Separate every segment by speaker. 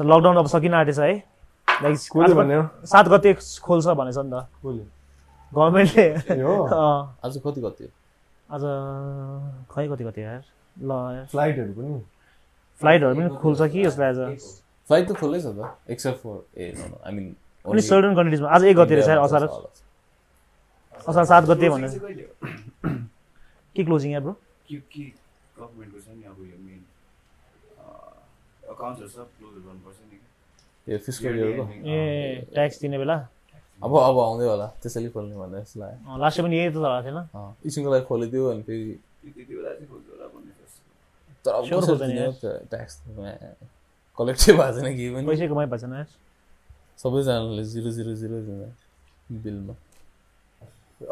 Speaker 1: Lockdown अब सकिन आँटेछ है लाइक
Speaker 2: कसले भन्यो?
Speaker 1: सात गते खोल्छ भनेछ नि त
Speaker 2: कसले?
Speaker 1: गभर्मेन्टले
Speaker 2: ए हो?
Speaker 1: अँ,
Speaker 3: आज कति कति हो
Speaker 1: आज खै कति कति यार ल यार।
Speaker 2: फ्लाइटहरू पनि
Speaker 1: फ्लाइटहरू पनि खुल्छ कि यसलाई आज
Speaker 3: फ्लाइट त खुल्लै छ त except for a I mean
Speaker 1: अनि सर्टन कन्ट्रिजमा आज एक गते रहेछ यार असार असार सात गते भनेर के क्लोजिङ यार ब्रो
Speaker 4: क्युकी गभर्मेन्टको छ नि अब यो मेन अकाउन्ट्सहरू सब क्लोज गर्नुपर्छ नि
Speaker 3: ए फिस्कल इयरको
Speaker 1: ए ट्याक्स दिने बेला
Speaker 3: अब अब आउँदै होला त्यसैले खोल्ने भन्दा जस्तो लाग्यो
Speaker 1: लास्ट टाइम पनि यही त लगाएको थिएन
Speaker 3: अँ, एकछिनको लागि खोलिदियो अनि फेरि
Speaker 4: त्यति बेला चाहिँ खोल्छ होला भन्ने जस्तो
Speaker 3: तर अब
Speaker 1: Sure
Speaker 3: कसरी
Speaker 1: खोल्दैन
Speaker 3: दिने
Speaker 1: यार।
Speaker 3: हो त ट्याक्स कलेक्टै भएको छैन केही पनि
Speaker 1: पैसै कमाइ पाएको छैन यार
Speaker 3: सबैजनाले जिरो जिरो जिरो दिँदा बिलमा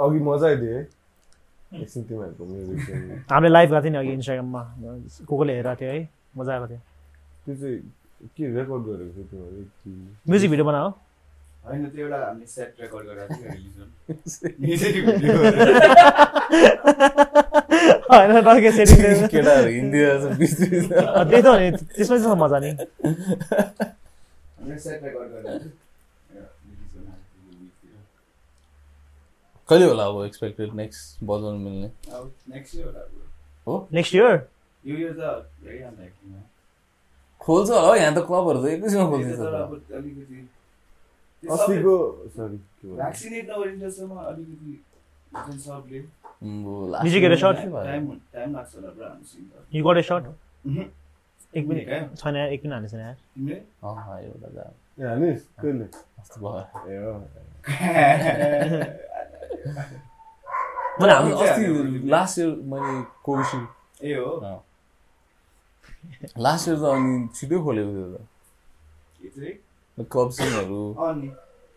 Speaker 2: अघि मजा आइदियो है एकछिन तिमीहरूको म्युजिक सुन्नु।
Speaker 1: हामीले लाइभ गएको थियो नि अघि इन्स्टाग्राममा को कोले हेरेको थियो है मजा आएको थियो
Speaker 2: त्यो चाहिँ के रेकर्ड गरेको थियो तिमीहरू कि
Speaker 1: म्युजिक भिडियो बनाओ
Speaker 4: होइन त्यो एउटा हामीले सेट रेकर्ड गरेर थियो रिलिजन
Speaker 1: होइन टक्कै setting गरेर।
Speaker 3: केटाहरू हिँड्दै रहेछ बिच बिचमा।
Speaker 1: अँ, त्यही त हो नि त्यसमै छ मजा नि
Speaker 4: हामीले सेट रेकर्ड गरेर रिलिज गर्न आएको
Speaker 3: कहिले होला अब एक्सपेक्टेड नेक्स्ट बजाउन मिल्ने
Speaker 4: थियो। अब नेक्स्ट इयर होला अब।
Speaker 1: नेक्स्ट इयर
Speaker 4: यो यो त धेरै हाल्दा एकछिन, है।
Speaker 3: खोल्छ होला हौ यहाँ त क्लबहरू त एकैछिनमा
Speaker 4: त्यो
Speaker 3: खोलिदिन्छ
Speaker 4: तर
Speaker 3: त।
Speaker 4: अब अलिकति त्यो
Speaker 2: अस्तिको सरी के
Speaker 4: सबले-
Speaker 2: भन्नु?
Speaker 4: भ्याक्सिनेट नगरिन्जेलसम्म अलिकति जुन सबले
Speaker 3: अम्बो, last
Speaker 1: Music हरू short।
Speaker 3: भयो।
Speaker 4: टाइम टाइम लाग्छ होला पुरा हाम्रो सिन त।
Speaker 1: You got a short Mm-hmm.
Speaker 4: उहुँ,
Speaker 1: एक मिनट
Speaker 4: क्या?
Speaker 1: छैन यार, एक मिनट हाल्ने छैन यार
Speaker 4: तिमीले?
Speaker 3: अँ, एउटा जा
Speaker 2: ए हानिस कहिले
Speaker 3: कस्तो भयो
Speaker 2: ए हो
Speaker 3: मैले हामी अस्ति लास्ट इयर मैले कोभिसिल्ड
Speaker 4: ए हो
Speaker 3: लास्ट इयर त अनि छिटै खोलेको थियो
Speaker 4: के चाहिँ?
Speaker 3: त क्लब सिनहरू
Speaker 4: अँ नि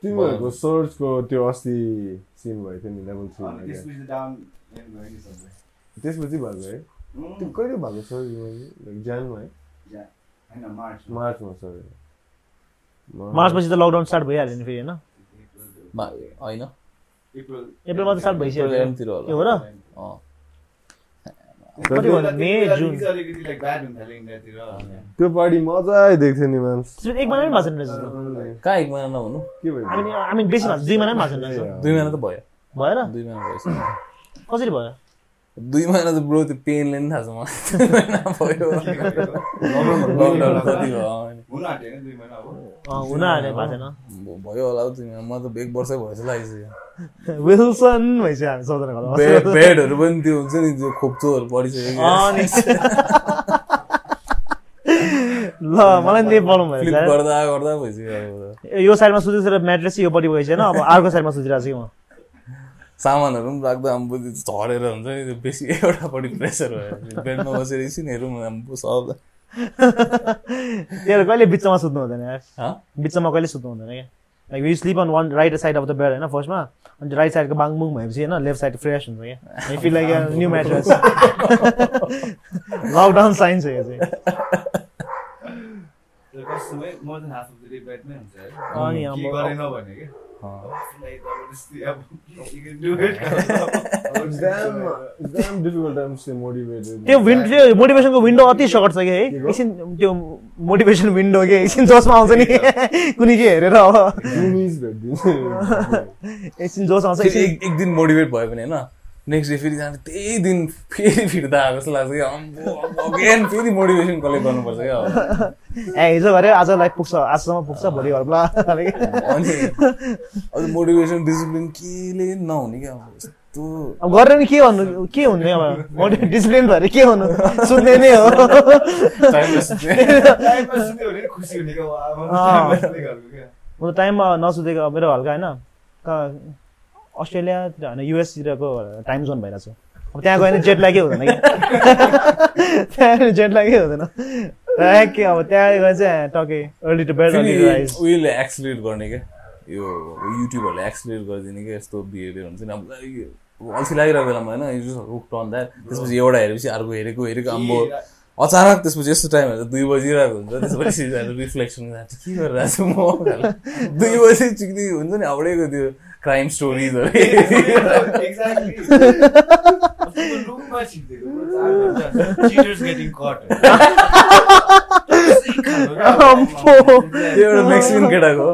Speaker 2: तिमीहरूको सर्चको त्यो अस्ति सिन भएको थियो नि लेभल
Speaker 4: अनि
Speaker 2: थ्रीमा क्या
Speaker 4: त्यसपछि त डाउन एम भयो नि सबै।
Speaker 2: त्यसपछि भएको है त्यो
Speaker 4: उम्,
Speaker 2: कहिले भएको सर्च जानमा है
Speaker 4: जा। होइन मार्च
Speaker 2: मार्चमा सर्च
Speaker 1: मार्च पछि त लकडाउन स्टार्ट भइहाल्यो नि फेरि होइन
Speaker 3: मा- होइन
Speaker 4: अप्रिल
Speaker 1: एप्रिलमा त स्टार्ट भइसक्यो
Speaker 3: एप्रिल एन्डतिर
Speaker 1: ए हो
Speaker 3: होला
Speaker 1: र
Speaker 3: अँ।
Speaker 1: कति भयो मे जुन
Speaker 4: अलिकति लाइक ब्याड हुन थाल्यो इन्डियातिर
Speaker 2: त्यो पार्टी मजा आइदिएको थियो नि मान्स
Speaker 1: त्यसपछि एक महिना पनि भएको छैन रहेछ त।
Speaker 3: कहाँ एक महिना नहुनु
Speaker 2: के भयो
Speaker 1: हामी हामी बेसी भएको दुई महिना पनि भएको छैन रहेछ
Speaker 3: दुई महिना त भयो
Speaker 1: भएर
Speaker 3: दुई महिना भएछ
Speaker 1: कसरी भयो
Speaker 3: दुई महिना त ब्रो त्यो पेनले नि थाहा छ मलाई दुई महिना भयो लकडाउन कति भयो अँ, अनि
Speaker 4: हुन आँटेन दुई महिना हो
Speaker 1: अँ, हुन हाल्ने भएको छैन
Speaker 3: भ- भयो होला हौ दुई महिना म त एक वर्षै भएछ लागिसक्यो
Speaker 1: विल्सन भइसक्यो हामी सबजना घरमा
Speaker 3: बेड बेडहरू पनि त्यो हुन्छ नि त्यो खोप्चोहरू पढिसकेको
Speaker 1: अनि ल मलाई नि त्यही प्रब्लम भयो
Speaker 3: फ्लिप
Speaker 1: यार।
Speaker 3: गर्दा गर्दा भइसक्यो अब त।
Speaker 1: यो साइडमा सुतेर म्याट्रेस यो बढी भइसकेन अब अर्को साइडमा सुतिरहेको छु कि म
Speaker 3: सामानहरू पनि राख्दा अम्बो त्यो झरेर हुन्छ नि त्यो बेसी एउटापट्टि प्रेसर भयो बेडमा बसेर एकछिन हेरौँ अम्बो सब
Speaker 1: त्यही भएर कहिले बिचमा सुत्नु हुँदैन यार
Speaker 3: हँ?
Speaker 1: बिचमा कहिले सुत्नु हुँदैन क्या like you sleep on one right side of the bed होइन फर्स्टमा अनि राइट साइडको बाङबुङ भएपछि होइन लेफ्ट साइड फ्रेस हुन्छ क्या I feel like new mattress lockdown since हो यो चाहिँ
Speaker 4: तर कस्तोमै more than half of the day बेडमै हुन्छ है
Speaker 1: अनि
Speaker 4: के
Speaker 1: अब-
Speaker 4: गरेन भने के
Speaker 3: अँ।
Speaker 4: आफूलाई जबरजस्ती अब you can do it. अब
Speaker 1: त्यो विन्ड त्यो मोटिभेसनको विन्डो अति सर्ट छ कि है
Speaker 2: के को?
Speaker 1: एकछिन त्यो मोटिभेसन विन्डो के एकछिन जोसमा आउँछ नि कुनै के हेरेर अब एकछिन जोस आउँछ
Speaker 3: फेरि
Speaker 1: एकछिन
Speaker 3: एक एक दिन मोटिभेट भयो भने होइन नेक्स्ट डे फेरि जाँदा त्यही दिन फेरि फिर्ता आएको जस्तो लाग्छ क्या अम्बो अगेन फेरि मोटिभेसन कलेक्ट गर्नुपर्छ क्या अब।
Speaker 1: ए हिजो गऱ्यो आज लाइक पुग्छ आजसम्म पुग्छ भोलि घरमा
Speaker 3: अनि अझ मोटिभेसन डिसिप्लिन केले नहुने क्या अब यस्तो
Speaker 1: अब गरेर नि के भन्नु के हुने अब मोटिभ डिसिप्लिन भएर के हुनु सुत्ने नै हो
Speaker 3: टाइममा सुत्ने।
Speaker 4: टाइममा सुत्यो भने खुसी हुने क्या वाह, अब
Speaker 1: अँ।
Speaker 4: टाइममा सुतेको खालको क्या।
Speaker 1: म त टाइममा नसुतेको मेरो हल्का होइन कहाँ अस्ट्रेलियातिर होइन युएसतिरको टाइम जोन भइरहेको छु अब त्यहाँ गयो भने जेट लाग्यो हुँदैन कि त्यहाँ गयो भने जेट लाग्यो हुँदैन ट्याक्कै अब त्यहाँ गयो चाहिँ टके अर्ली टु बेड अर्ली
Speaker 3: फेरि
Speaker 1: टु राइज
Speaker 3: उयोले एक्सलेट गर्ने क्या यो युट्युबहरूले एक्सलेट गरिदिने क्या यस्तो बिहेभियर हुन्छ नि अब यो अल्छी लागिरहेको बेलामा होइन you just rock on that त्यसपछि एउटा हेरेपछि अर्को हेरेको हेरेको अम्बो अचानक त्यसपछि यस्तो टाइम हेर्दा दुई बजिरहेको हुन्छ त्यसपछि रिफ्लेक्सन के गरिरहेको छु म दुई बजी चिक्दी हुन्छ नि एउटैको त्यो क्राइम स्टोरिजहरू
Speaker 4: Exactly. उसको रूममा छिपेको, चार घन्टा। Cheaters getting caught. खालको क्या?
Speaker 1: अम्फो।
Speaker 3: त्यो एउटा मेक्सिकन केटाको हो।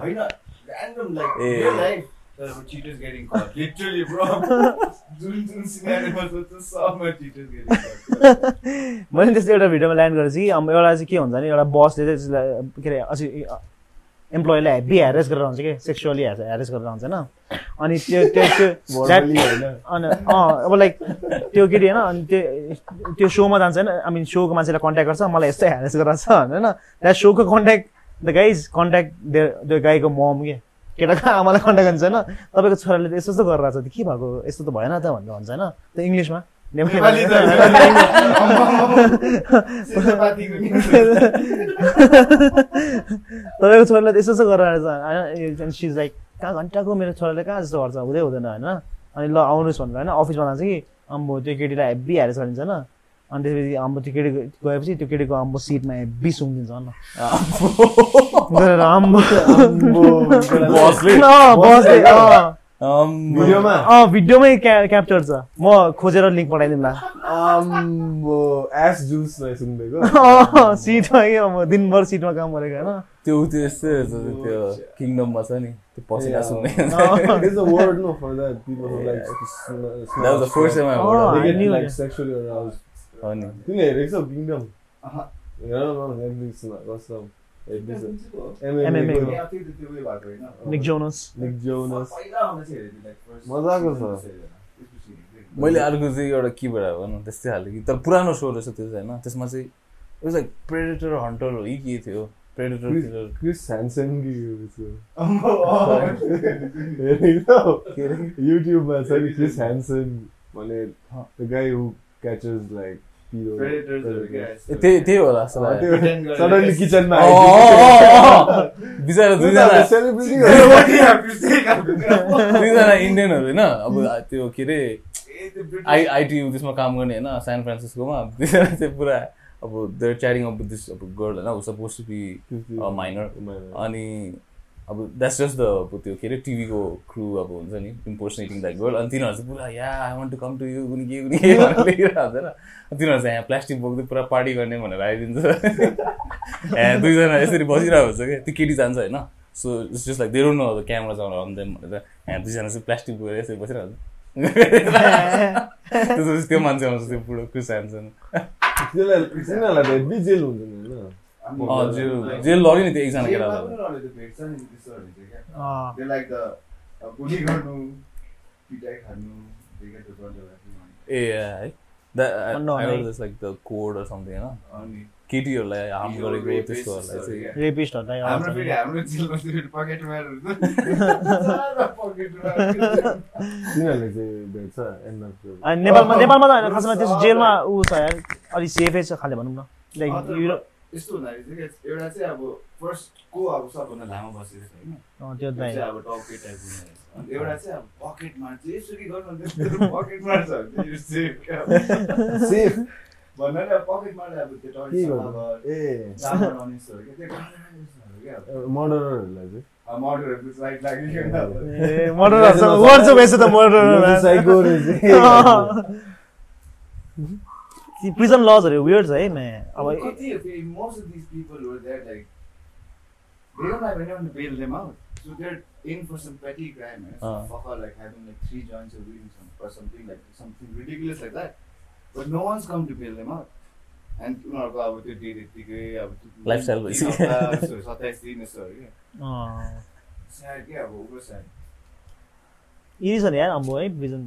Speaker 4: होइन random like
Speaker 3: ए।
Speaker 4: real life, तर अब cheaters getting caught. Literally, bro. जुन- जुन scenario मा छ, त्यो सबमा cheaters getting caught.
Speaker 1: मैले नि त्यस्तो एउटा भिडियोमा ल्यान्ड गरेको छु कि अब एउटा चाहिँ के हुन्छ भने एउटा बसले चाहिँ त्यसलाई के अरे अझै इम्प्लोइलाई हेभी ह्यारेस गरेर हुन्छ कि सेक्सुअली ह्यारेस गरेर हुन्छ होइन अनि त्यो त्यो त्यो that-
Speaker 2: Verbally होइन।
Speaker 1: अनि अँ अब लाइक त्यो केटी होइन अनि त्यो त्यो सोमा जान्छ होइन आई मिन सोको मान्छेलाई कन्ट्याक्ट गर्छ मलाई यस्तै ह्यारेस गरेर छ भनेर होइन त्यहाँ सोको contact the guys contact the गाईको मम के केटाको आमालाई कन्ट्याक्ट गर्छ होइन तपाईँको छोराले त यस्तो यस्तो गरेर छ के भएको यस्तो त भएन त भनेर भन्छ होइन त्यो इङ्ग्लिसमा
Speaker 4: नेपाली त आम्मामा। सेतोपातीको news.
Speaker 1: तपाईँको छोराले त यस्तो यस्तो गरेर आएछ होइन सिज लाइक कहाँ घन्टाको मेरो छोराले कहाँ जस्तो गर्छ हुँदै हुँदैन होइन अनि ल आउनुहोस् भनेर होइन अफिसमा जान्छ कि अम्बो त्यो केटीलाई हेब्बी हारेस गरिन्छ होइन अनि त्यसपछि अम्बो त्यो केटी गएपछि त्यो केटीको अम्बो सिटमा हेब्बी सुम्दिन्छ होइन गरेर अम्बो
Speaker 2: आम्बो,
Speaker 3: बसले
Speaker 1: अँ, बस्दै अँ
Speaker 3: आम्बो।
Speaker 2: भिडियोमा
Speaker 1: अँ भिडियोमै क्या क्याप्चर छ म खोजेर लिङ्क पठाइदिउँला
Speaker 2: आम्बो एस जुस रहेछ सुनेको
Speaker 1: Oh. अँ, सिटमा के अब म दिनभर सिटमा काम गरेको होइन
Speaker 3: त्यो उ त्यो यस्तै रहेछ त्यो
Speaker 1: Oh,
Speaker 3: किङडममा छ नि त्यो पसिना
Speaker 2: Yeah.
Speaker 3: सुन्ने
Speaker 2: There's a word no for that. People who like sm-
Speaker 3: That was the first time I
Speaker 1: Oh,
Speaker 3: heard of
Speaker 2: They
Speaker 1: I
Speaker 2: get
Speaker 1: knew
Speaker 2: like
Speaker 1: it.
Speaker 2: sexually aroused.
Speaker 3: it. हो नि।
Speaker 2: तिमीले हेरेको छौ किङडम
Speaker 3: Uh-huh.
Speaker 4: अहँ।
Speaker 2: हेर न नेटफ्लिक्समा कस्तो हेर्दैछ
Speaker 1: MMA
Speaker 2: MMA
Speaker 1: को।
Speaker 2: को।
Speaker 4: त्यहाँ त्यो- त्यो उयो भएको होइन।
Speaker 1: निक जोनस
Speaker 2: निक जोनस
Speaker 4: पहिला आउने चाहिँ हेरेको, like, first
Speaker 2: मजाको छ।
Speaker 4: season चाहिँ हेरेन। त्यसपछि हेरेको।
Speaker 3: मैले अर्को चाहिँ एउटा के भएर भनौँ त्यस्तै खालको कि तर पुरानो सो रहेछ त्यो चाहिँ होइन त्यसमा चाहिँ एउटा प्रेडेटर हन्टर हो कि के थियो प्रेडेटर किलर
Speaker 2: क्रिस ह्यान्सन कि यो छ।
Speaker 4: अम्बो, अँ।
Speaker 2: हेरेको छौ?
Speaker 3: के अरे
Speaker 2: युट्युबमा छ नि क्रिस ह्यान्सन भने the guy who catches like pedo-
Speaker 4: Predators हरू क्या
Speaker 2: predators.
Speaker 3: ए, त्यही त्यही होला जस्तो
Speaker 2: अँ,
Speaker 3: लाग्यो।
Speaker 2: त्यो
Speaker 4: Pretend गरेर-
Speaker 2: suddenly किचनमा
Speaker 3: अँ,
Speaker 2: आइदियो।
Speaker 3: अँ, अँ, अँ, अँ। बिचरा दुईजना
Speaker 2: उनीहरू celebrity हो।
Speaker 4: What do you have to say? खालको क्या?
Speaker 3: दुईजना इन्डियनहरू होइन अब त्यो के अरे
Speaker 4: ए, त्यो British-
Speaker 3: आई आइटियु त्यसमा काम गर्ने होइन सान फ्रान्सिस्कोमा दुईजना चाहिँ पुरा अब देयर च्यारिङ अप दिस अब गर्ल होइन suppose to be minor
Speaker 2: Minor.
Speaker 3: अनि अब द्याट्स जस्ट द अब त्यो के अरे टिभीको क्रु अब हुन्छ नि इम्पोर्सनेटिङ द्याट गर्ल अनि तिनीहरू चाहिँ पुरा yeah I want to come to you कुन के कुन के भनेर लेखिरहेको हुन्छ र अनि तिनीहरू चाहिँ यहाँ प्लास्टिक बोक्दै पुरा पार्टी गर्ने भनेर आइदिन्छ ए दुईजना यसरी बसिरहेको हुन्छ क्या त्यो केटी जान्छ होइन so it's just like they don't know the camera जाउँ अन देम भनेर यहाँ दुईजना चाहिँ प्लास्टिक बोकेर यसरी बसिरहेको हुन्छ त्यसपछि त्यो मान्छे आउँछ त्यो बुढो क्रिस ह्याम्सन
Speaker 2: त्यसलाई तिनीहरूलाई त हेभी जेल हुन्छ नि होइन
Speaker 4: हामी-
Speaker 3: अँ जेल जेल लग्यो नि त्यो एकजना
Speaker 4: जेलमा
Speaker 3: केटा
Speaker 4: पनि रहने त भेट्छ नि त्यस्तोहरू चाहिँ क्या। They like the- अब गोली गर्नु, पिटाइ खानु, they get the brunt of everyone.
Speaker 3: ए है That- I-
Speaker 1: No,
Speaker 3: I
Speaker 1: no.
Speaker 3: heard this like the code or something, होइन?
Speaker 4: अनि
Speaker 3: केटीहरूलाई हार्म
Speaker 4: यो
Speaker 3: गरेको
Speaker 4: rapist
Speaker 3: त्यस्तोहरूलाई
Speaker 4: जस्तो
Speaker 3: चाहिँ
Speaker 4: क्या।
Speaker 1: रेपिस्टहरूलाई
Speaker 4: हाम्रो
Speaker 1: आउँछ।
Speaker 4: फेरि हाम्रो जेलमा चाहिँ फेरि पकेट मार हुन्छ। सारा पकेट मार।
Speaker 2: तिनीहरूले चाहिँ भेट्छ end of the-
Speaker 1: अनि नेपालमा नेपालमा त होइन खासमा त्यस जेलमा ऊ छ यार अलिक सेफै छ खाले भनौँ न लाइक
Speaker 4: अँ, तर
Speaker 1: युरोप
Speaker 4: यस्तो हुँदाखेरि चाहिँ क्या, एउटा चाहिँ अब फर्स्टको अब सबभन्दा लामो बसेको छ होइन
Speaker 1: अँ, त्यो
Speaker 4: त्यो
Speaker 1: त होइन।
Speaker 4: चाहिँ अब टपके टाइप हुने रहेछ। अनि एउटा चाहिँ अब पकेट मार्छ यसरी गर्नु भने तेरो पकेट मार्छ भने चाहिँ यो safe क्या।
Speaker 2: Safe.
Speaker 4: भन्नाले अब पकेट मार्दा अब त्यो
Speaker 2: के
Speaker 4: टर्च
Speaker 2: गर्नु?
Speaker 4: अब
Speaker 2: ए
Speaker 4: जामा लाउने यस्तोहरू क्या, त्यो गाना यस्तोहरू क्या अब।
Speaker 2: Uh, मर्डरहरूलाई चाहिँ
Speaker 4: अब मर्डरहरूको लाइट लाग्ने क्या अब।
Speaker 1: ए मर्डरहरू वर्ड चाहिँ बेसी त मर्डर
Speaker 2: Psycho रहेछ।
Speaker 1: Oh. प्रिजन लजहरू वियर्ड छ है मे अब
Speaker 4: कति हो फेरि, most of these people were there, like, they don't have anyone to bail them out. So they're in for some petty crime, eh? Some
Speaker 3: Uh.
Speaker 4: fucker, like, having, like, three joints or doing some- or something like- something ridiculous like that. But no one's come to bail them out. And उनीहरूको अब त्यो date यत्तिकै, अब त्यो-
Speaker 3: Lifestyle
Speaker 4: तिन
Speaker 3: भइसक्यो।
Speaker 4: हप्ता यस्तोहरू, सत्ताइस दिन यस्तोहरू क्या। Sad क्या अब, उग्र sad.
Speaker 1: यी छ नि यार अम्बो है प्रिजन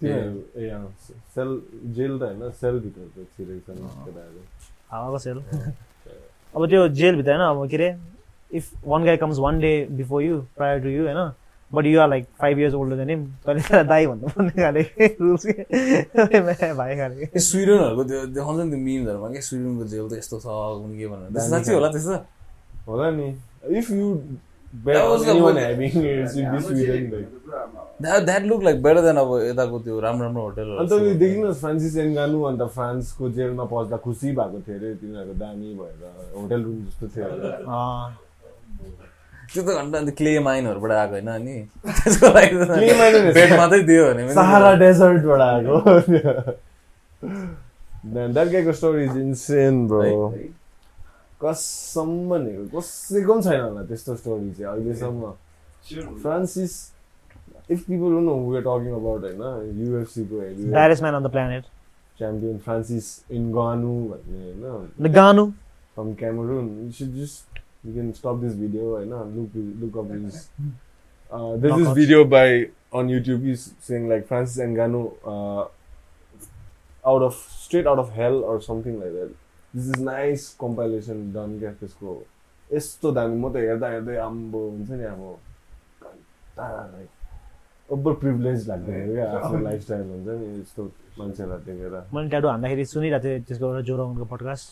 Speaker 2: तिनीहरू ए अँ, सेल जेल त होइन सेलभित्र त छिरेको छन् केटाहरू
Speaker 1: हावाको सेल अब त्यो जेलभित्र होइन अब के अरे if one guy comes one day before you prior to you होइन but you are like five years older than him तैँले त्यसलाई दाई भन्नुपर्ने खाले रुल्स के भाइ खाले
Speaker 3: ए स्विडनहरूको त्यो देखाउँछ नि त्यो मिमहरूमा के स्विडनको जेल त यस्तो छ कुन के भनेर त्यस्तो
Speaker 2: दामी
Speaker 3: साँच्चै
Speaker 2: छ।
Speaker 3: होला त्यस्तो
Speaker 2: होला नि if you
Speaker 3: That was the one-
Speaker 4: हाम्रो चाहिँ
Speaker 2: अन्त
Speaker 4: पुरा आमा-
Speaker 3: that that look like better than अब यताको त्यो राम्रो राम्रो
Speaker 2: तपाईँ
Speaker 3: होटलहरू
Speaker 2: देख्नुहोस् फ्रान्सिस एन्गानु अन्त फ्रान्सको जेलमा पस्दा खुसी भएको थियो अरे तिनीहरूको दामी भएर होटल रुम जस्तो थियो अरे
Speaker 3: त्यो त घन्टा अन्त क्ले माइनहरूबाट आएको होइन नि त्यसको लागि त
Speaker 2: Clay mine हो नि।
Speaker 3: बेड मात्रै दियो भने पनि-
Speaker 2: सहारा डेजर्टबाट आएको डर्केको स्टोरी इज इन्सेन ब्रो
Speaker 3: है,
Speaker 2: कसम भनेको कसैको पनि छैन होला त्यस्तो स्टोरी चाहिँ अहिलेसम्म
Speaker 4: Sure.
Speaker 2: Francis if people don't know we are talking about होइन युएफसीको heavy
Speaker 1: direst man on the planet
Speaker 2: champion Francis Ngannou भन्ने होइन
Speaker 1: अन्त गानु
Speaker 2: from Cameroon. You should just you can stop this video right now. Look look up this. Uh, there's this
Speaker 1: Knockouts.
Speaker 2: video by on YouTube. He's saying like Francis Ngannou uh, out of straight out of hell or something like that. This is nice compilation done क्या त्यसको यस्तो दामी म त हेर्दा हेर्दै आम्बो हुन्छ नि अब घन्टालाई ओभर प्रिभिलेज लाग्दै हेऱ्यो क्या आफ्नो लाइफस्टाइल हुन्छ नि यस्तो मान्छेहरूलाई देखेर
Speaker 1: मैले ट्याडो हान्दाखेरि सुनिरहेको थिएँ त्यसको एउटा जोरङको पडकास्ट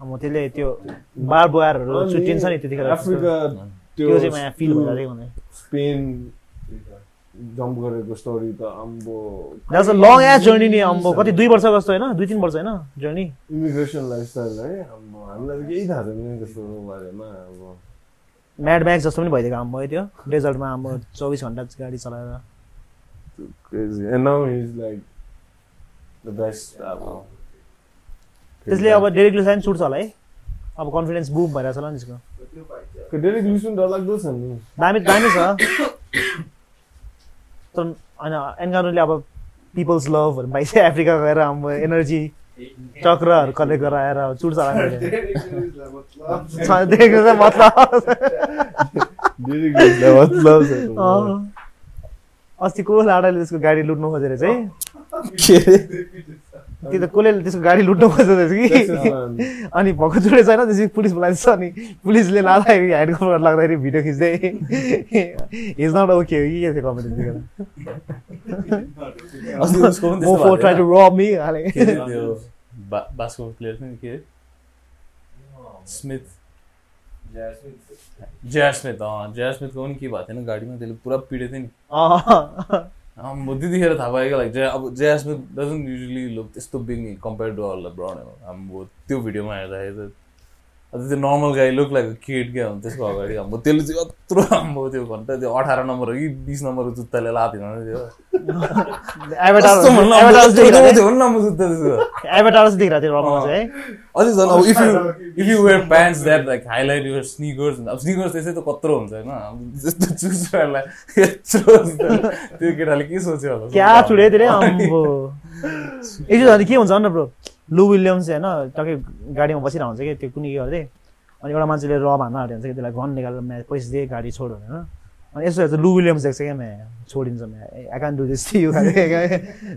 Speaker 1: अब म त्यसले त्यो बार बुहारहरू
Speaker 2: अनि
Speaker 1: छुट्टिन्छ नि त्यतिखेर
Speaker 2: अफ्रिका त्यो
Speaker 1: त्यो चाहिँ मलाई फिल
Speaker 2: त्यो
Speaker 1: भइरहेको थियो भने
Speaker 2: स्पेन जम्प गरेको स्टोरी त अम्बो
Speaker 1: that's a long ass journey नि अम्बो कति दुई वर्ष जस्तो होइन दुई तिन वर्ष होइन जर्नी
Speaker 2: इमिग्रेसन लाइफस्टाइल है अम्बो हामीलाई त केही थाहा छैन त्यस्तोको बारेमा अब
Speaker 1: म्याड ब्याग जस्तो पनि भइदिएको अम्बो है त्यो डेजर्टमा अम्बो चौबिस घन्टा गाडी चलाएर
Speaker 2: crazy and now is like the best अब
Speaker 1: त्यसले अब डेरिक लुसाइन सुट्छ होला है अब कन्फिडेन्स बुम भइरहेको छ होला नि त्यसको
Speaker 2: डेरिक लुसन डरलाग्दो छ नि
Speaker 1: दामी दामी छ तर होइन एनगानोले अब पिपल्स लभहरू भाइ अफ्रिका गएर अब एनर्जी चक्रहरू कलेक्ट गराएर चुट्छ होला नि
Speaker 4: Like,
Speaker 1: त्यसले। देखेको चाहिँ मतलब
Speaker 2: डेरिक लुसनलाई मतलब छ
Speaker 1: अँ। अस्ति को लाडाले त्यसको गाडी लुट्नु खोजेर चाहिँ
Speaker 3: के अरे?
Speaker 1: त्यो त कसले त्यसको गाडी लुट्नु खोजेको रहेछ कि
Speaker 2: त्यसमा
Speaker 1: अनि भएको चुडे छैन त्यसपछि पुलिस बोलाइन्छ अनि पुलिसले लाँदाखेरि ह्यान्ड कभर लाग्दाखेरि भिडियो खिच्दै इज नट ओके हो कि के थियो कमेन्ट त्यतिखेर
Speaker 4: Oh,
Speaker 3: अस्ति उसको पनि
Speaker 1: मोफो
Speaker 3: त्यस्तो
Speaker 1: ट्राई टु
Speaker 3: भएको
Speaker 1: रब मी हाले
Speaker 3: थियो। के अरे त्यो बा- बास्केटबल प्लेयर थियो नि के अरे? स्मिथ जया स्मिथ अँ जया स्मिथको पनि के भएको थिएन गाडीमा त्यसले पुरा पिडेको थियो नि आम्बो त्यतिखेर थाहा पायो क्या लाइक जया अब Jada Smith doesn't usually look त्यस्तो big compare to all brown आम्बो त्यो भिडियोमा हेर्दाखेरि त अब त्यो normal guy look like kid क्या हुन्छ त्यसको अगाडि आम्बो त्यसले चाहिँ यत्रो आम्बो त्यो घन्टा त्यो अठार नम्बर हो कि बिस नम्बरको जुत्ताले लाथेन त्यो कस्तो भन्नु अब
Speaker 1: एभाटार्स
Speaker 3: यत्रो थियो नि आम्बो जुत्ता त्यसको
Speaker 1: देखिरहेको थियो रबमा चाहिँ है
Speaker 3: अझै झन् अब if you if you wear pants that like highlight your sneakers अब स्निकर्स त्यसै त कत्रो हुन्छ होइन अब जस्तो चुजहरूलाई यत्रो हुन्छ। त्यो केटाले के सोच्यो होला
Speaker 1: क्या चुडे त्यसले अम्बो एकचोटि अनि के हुन्छ भने ब्रो लु विलियम्स होइन टक्कै गाडीमा बसिरहेको हुन्छ कि त्यो कुनै के गर्दै अनि एउटा मान्छेले रब हान्न आँटेको हुन्छ कि त्यसलाई घन निकालेर म्या पैसा दिए गाडी छोड भनेर अनि यसो हेर्छ लु विलियम्स देख्छ क्या म्या छोडिन्छ म्या I can do this you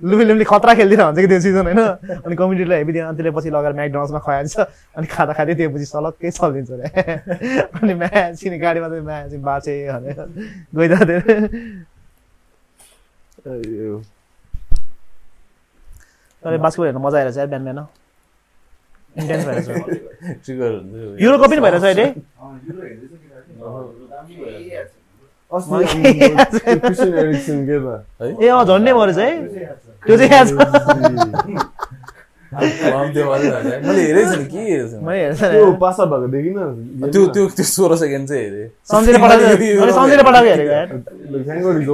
Speaker 1: लु विलियमले खतरा खेलिदिरहेको हुन्छ कि त्यो सिजन होइन अनि कम्युनिटीलाई हेपिदियो अनि त्यसले पछि लगाएर म्याकडोनल्ड्समा खुवाइन्छ अनि खाँदा खाँदै त्यो पछि सलक्कै चलिदिन्छ अरे अनि म्या सिने गाडीमा चाहिँ म्या चाहिँ बाँचे भनेर गइदा
Speaker 2: अयो।
Speaker 1: तर बास्केटबल हेर्न मजा आइरहेछ यार बिहान बिहान इन्टेन्स भइरहेछ
Speaker 3: ट्रिगर हुन्छ
Speaker 1: युरोको पनि भइरहेछ अहिले
Speaker 2: अस्ति
Speaker 1: मलाई
Speaker 2: आम्बो, त्यो क्रिस्टियन एरिक्सन के त
Speaker 1: ए अँ झन्डै मरेछ है त्यो चाहिँ याद छ।
Speaker 3: वाम त्यो वाला भएर। मैले हेरेको छैन के हेरेको छैन?
Speaker 1: मैले हेर्छ
Speaker 2: त्यो पास आउट भएको देखिन
Speaker 3: त्यो त्यो त्यो सोह्र सेकेन्ड चाहिँ हेरेँ
Speaker 1: सम्झिने पठाएको मैले सम्झिने पठाएको हेरेको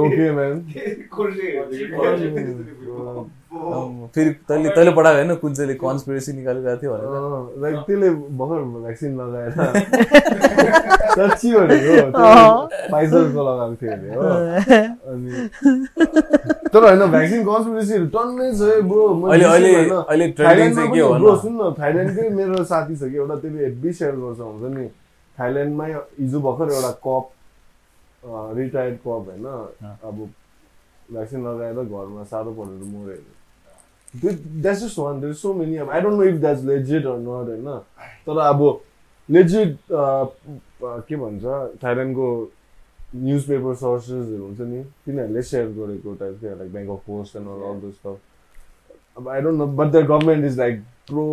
Speaker 1: यार
Speaker 2: ओके म्यान
Speaker 3: अम्म, फेरि तैँले तैँले पठाएको होइन कुन चाहिँले कन्सपिरेसी निकालिरहेको थियो भनेर
Speaker 2: लाइक त्यसले भर्खर भ्याक्सिन लगाएर साँच्ची भनेको हो, त्यो फाइजरको लगाएको थियो अरे हो अनि तर होइन भ्याक्सिन कन्सपिरेसीहरू टन्नै छ है ब्रो
Speaker 3: अहिले अहिले अहिले ट्रेन्डिङ चाहिँ के हो
Speaker 2: ब्रो
Speaker 3: भन्नु?
Speaker 2: सुन न थाइल्यान्डकै मेरो साथी छ कि एउटा त्यसले हेभी सेयर गर्छ हुन्छ नि थाइल्यान्डमै हिजो भर्खर एउटा कप रिटायर्ड कप होइन अब भ्याक्सिन लगाएर घरमा साह्रो परेर मऱ्यो अरे that's just one there so many अब I don't know if that's legit or not होइन तर अब लेजिट के भन्छ थाइल्यान्डको न्युज पेपर सोर्सेसहरू हुन्छ नि तिनीहरूले सेयर गरेको टाइप थियो like bank of post and all though stuff अब I don't know but the government is like pro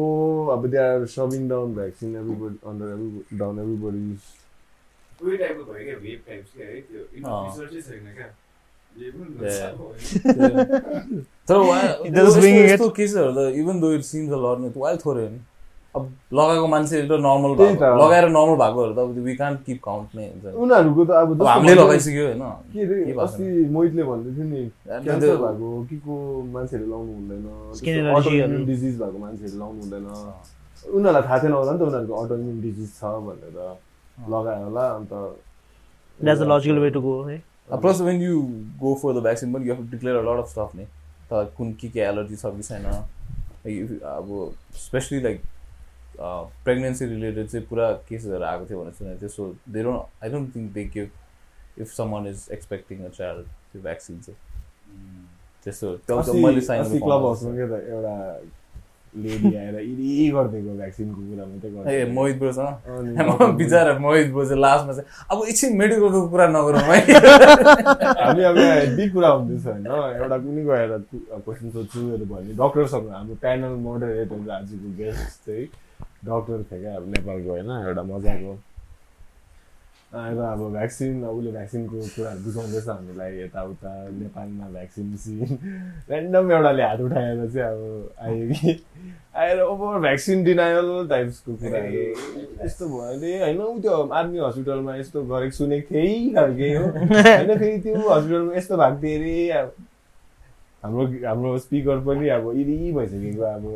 Speaker 2: अब they are shoving down vaccine everybody under every down everybody
Speaker 3: तर
Speaker 1: Just winging
Speaker 3: wild
Speaker 1: it.
Speaker 3: यस्तो केसहरू त even though it seems a learn wild थोरै हो नि
Speaker 2: अब
Speaker 3: लगाएको मान्छे र नर्मल
Speaker 2: त्यही
Speaker 3: भएको
Speaker 2: त।
Speaker 3: लगाएर नर्मल भएकोहरू त वी कान्ट किप काउन्ट नै हुन्छ नि।
Speaker 2: उनीहरूको त अब
Speaker 3: अब
Speaker 2: जस्तो
Speaker 3: हामीले
Speaker 2: भन्दा-
Speaker 3: लगाइसक्यो होइन
Speaker 2: के रे,
Speaker 3: के भएको
Speaker 2: अस्ति मोहितले भन्दै थियो नि
Speaker 3: अनि
Speaker 2: क्यान्सर
Speaker 3: त्यो-
Speaker 2: भएको के को मान्छेहरू लाउनु हुँदैन
Speaker 1: Skin
Speaker 2: त्यस्तो
Speaker 1: allergy
Speaker 2: autoimmune
Speaker 1: हरू।
Speaker 2: disease भएको मान्छेहरू लाउनु हुँदैन उनीहरूलाई थाहा थिएन होला नि त उनीहरूको अटोइम्युन डिजिज छ भनेर लगायो होला अन्त
Speaker 1: that's a logical way to go है
Speaker 3: plus when you go for the vaccine पनि you have declare a lot of stuff नि त कुन के के एलर्जी छ कि छैन Like, uh, अब specially like uh, pregnancy related चाहिँ पुरा केसेसहरू आएको थियो भनेर सुनेको थियो so they don't I don't think they give if someone is expecting a child त्यो भ्याक्सिन चाहिँ त्यस्तो त्यो- त्यो
Speaker 2: अस्ति-
Speaker 3: मैले साइन
Speaker 2: अस्ति क्लब हाउसमा के त एउटा लेडी आएर यी गरिदिएको भ्याक्सिनको कुरा मात्रै
Speaker 3: ए
Speaker 2: गरिदिएको।
Speaker 3: मोहित ब्रोसँग
Speaker 2: अनि
Speaker 3: म बिचरा मोहित बोजू चाहिँ लास्टमा चाहिँ अब एकछिन मेडिकलको कुरा नगरौँ है
Speaker 2: हामी अब यहाँ हेभी कुरा हुँदैछ होइन एउटा कुनै गएर क्वेसन सोध्छुहरू भन्यो डक्टरसँग हाम्रो प्यानल मोडरेटहरू आजको गेस्ट चाहिँ डक्टर थियो क्या अब नेपालको होइन एउटा मजाको आएर अब भ्याक्सिन अब उसले भ्याक्सिनको कुराहरू बुझाउँदैछ हामीलाई यताउता नेपालमा भ्याक्सिन सिन ऱ्यान्डम एउटाले हात उठाएर चाहिँ अब आयो कि आएर ओभर भ्याक्सिन डिनायल टाइप्सको कुराहरू यस्तो भयो अरे होइन ऊ त्यो आर्मी हस्पिटलमा यस्तो गरेको सुनेको थिएँ खालके हो होइन फेरि त्यो हस्पिटलमा यस्तो भएको थियो अरे अब हाम्रो हाम्रो स्पिकर पनि अब इरी भइसकेको अब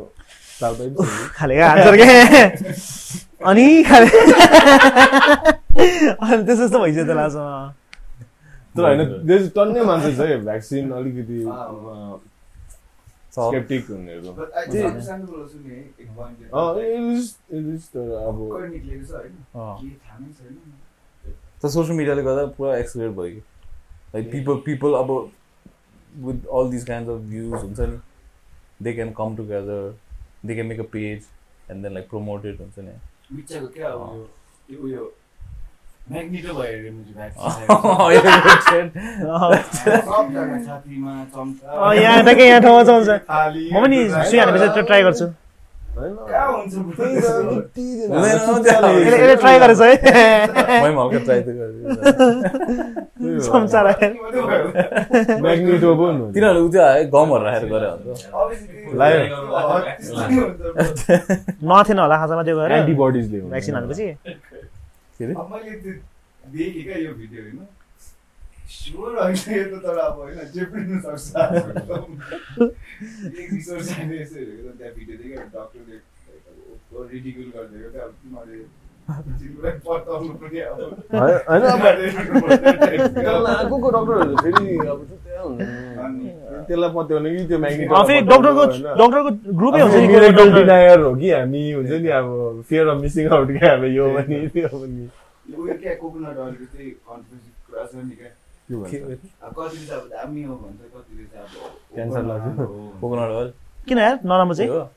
Speaker 2: साउथ
Speaker 1: खाले आन्सर के अनि खाले अनि त्यस्तो जस्तो भइसक्यो त लास्टमा
Speaker 2: तर होइन त्यो चाहिँ टन्नै मान्छे छ है भ्याक्सिन अलिकति
Speaker 3: So,
Speaker 2: स्केप्टिक हुनेहरू
Speaker 4: But I
Speaker 1: Yeah.
Speaker 4: think understandable also नि है, एक point ले।
Speaker 2: अँ, it is- it is तर अब
Speaker 4: भर्खर निक्लेको छ होइन?
Speaker 3: uh,
Speaker 1: अँ।
Speaker 4: केही थाहा नै छैन।
Speaker 3: त सोसियल मिडियाले गर्दा पुरा एक्सप्लोर भयो कि लाइक पिपल पिपल अब with all this kind of views हुन्छ नि they can come together they can make a page and then like promoted हुन्छ नि
Speaker 4: बिचको क्या अब यो- यो उयो म्याग्नेटो भयो अरे मुझे vaccine आएको छ।
Speaker 3: अँ,
Speaker 1: अँ,
Speaker 4: सबजना छातीमा चम्चा
Speaker 1: अँ, यहाँ ठ्याक्कै यहाँ ठाउँमा चल्छ
Speaker 4: थाली,
Speaker 1: म पनि सुई हानेपछि त्यो ट्राई गर्छु
Speaker 2: होइन,
Speaker 4: कहाँ हुन्छ
Speaker 2: त्यही त, कति दिन
Speaker 3: हुँदैन,
Speaker 2: हात
Speaker 3: त्यो
Speaker 2: चुच्चाले
Speaker 1: यसले यसले ट्राई गरेछ है
Speaker 3: मैले पनि हल्का ट्राई त गरेँ
Speaker 2: त्यही हो।
Speaker 1: चम्चा राखेर
Speaker 2: म्याग्नेटो पनि हो।
Speaker 3: तिनीहरू उ त्यो हाल्यो, गमहरू राखेर गरे हो त
Speaker 2: लायो।
Speaker 4: मैले
Speaker 1: नथेन होला खासमा त्यो गएर
Speaker 2: एन्टिबडिजले हुन्छ।
Speaker 1: भ्याक्सिन हालेपछि
Speaker 3: के अरे
Speaker 4: त्यो देखेँ क्या यो भिडियो होइन स्योर होइन यो त तर अब होइन जे पनि हुनसक्छ एक रिसोर्स छैन यसो हेरेको त त्यहाँ भिडियो देखेँ एउटा डक्टरले रिडिक्युल गरिदिएको क्या अब तिमीहरूले जिउलाई पत्ताउनु पनि अब
Speaker 2: होइन होइन, अब त्यसलाई
Speaker 4: अनि
Speaker 2: आगोको डक्टरहरू फेरि अब त्यो त्यहाँ हुन्छ। त्यसलाई पत्याउने कि त्यो म्याग्नेटो
Speaker 1: अँ, फेरि डक्टरको डक्टरको ग्रुपै हुन्छ नि कोही डक्टर
Speaker 2: डिनायर हो कि हामी हुन्छ नि अब फियर अफ मिसिङ आउट क्या अब यो पनि त्यो पनि
Speaker 4: उयो क्या कोकोनट अलिकति चाहिँ कन्फ्युज कुरा छ नि क्या
Speaker 2: के भन्छ?
Speaker 4: अब कतिले त अब दामी हो भन्छ कतिले त अब
Speaker 2: Cancer लाग्छ।
Speaker 4: हो भन्छ।
Speaker 3: कोकोनट अयल
Speaker 1: किन यार नराम्रो
Speaker 3: त्यही
Speaker 1: चाहिँ
Speaker 3: हो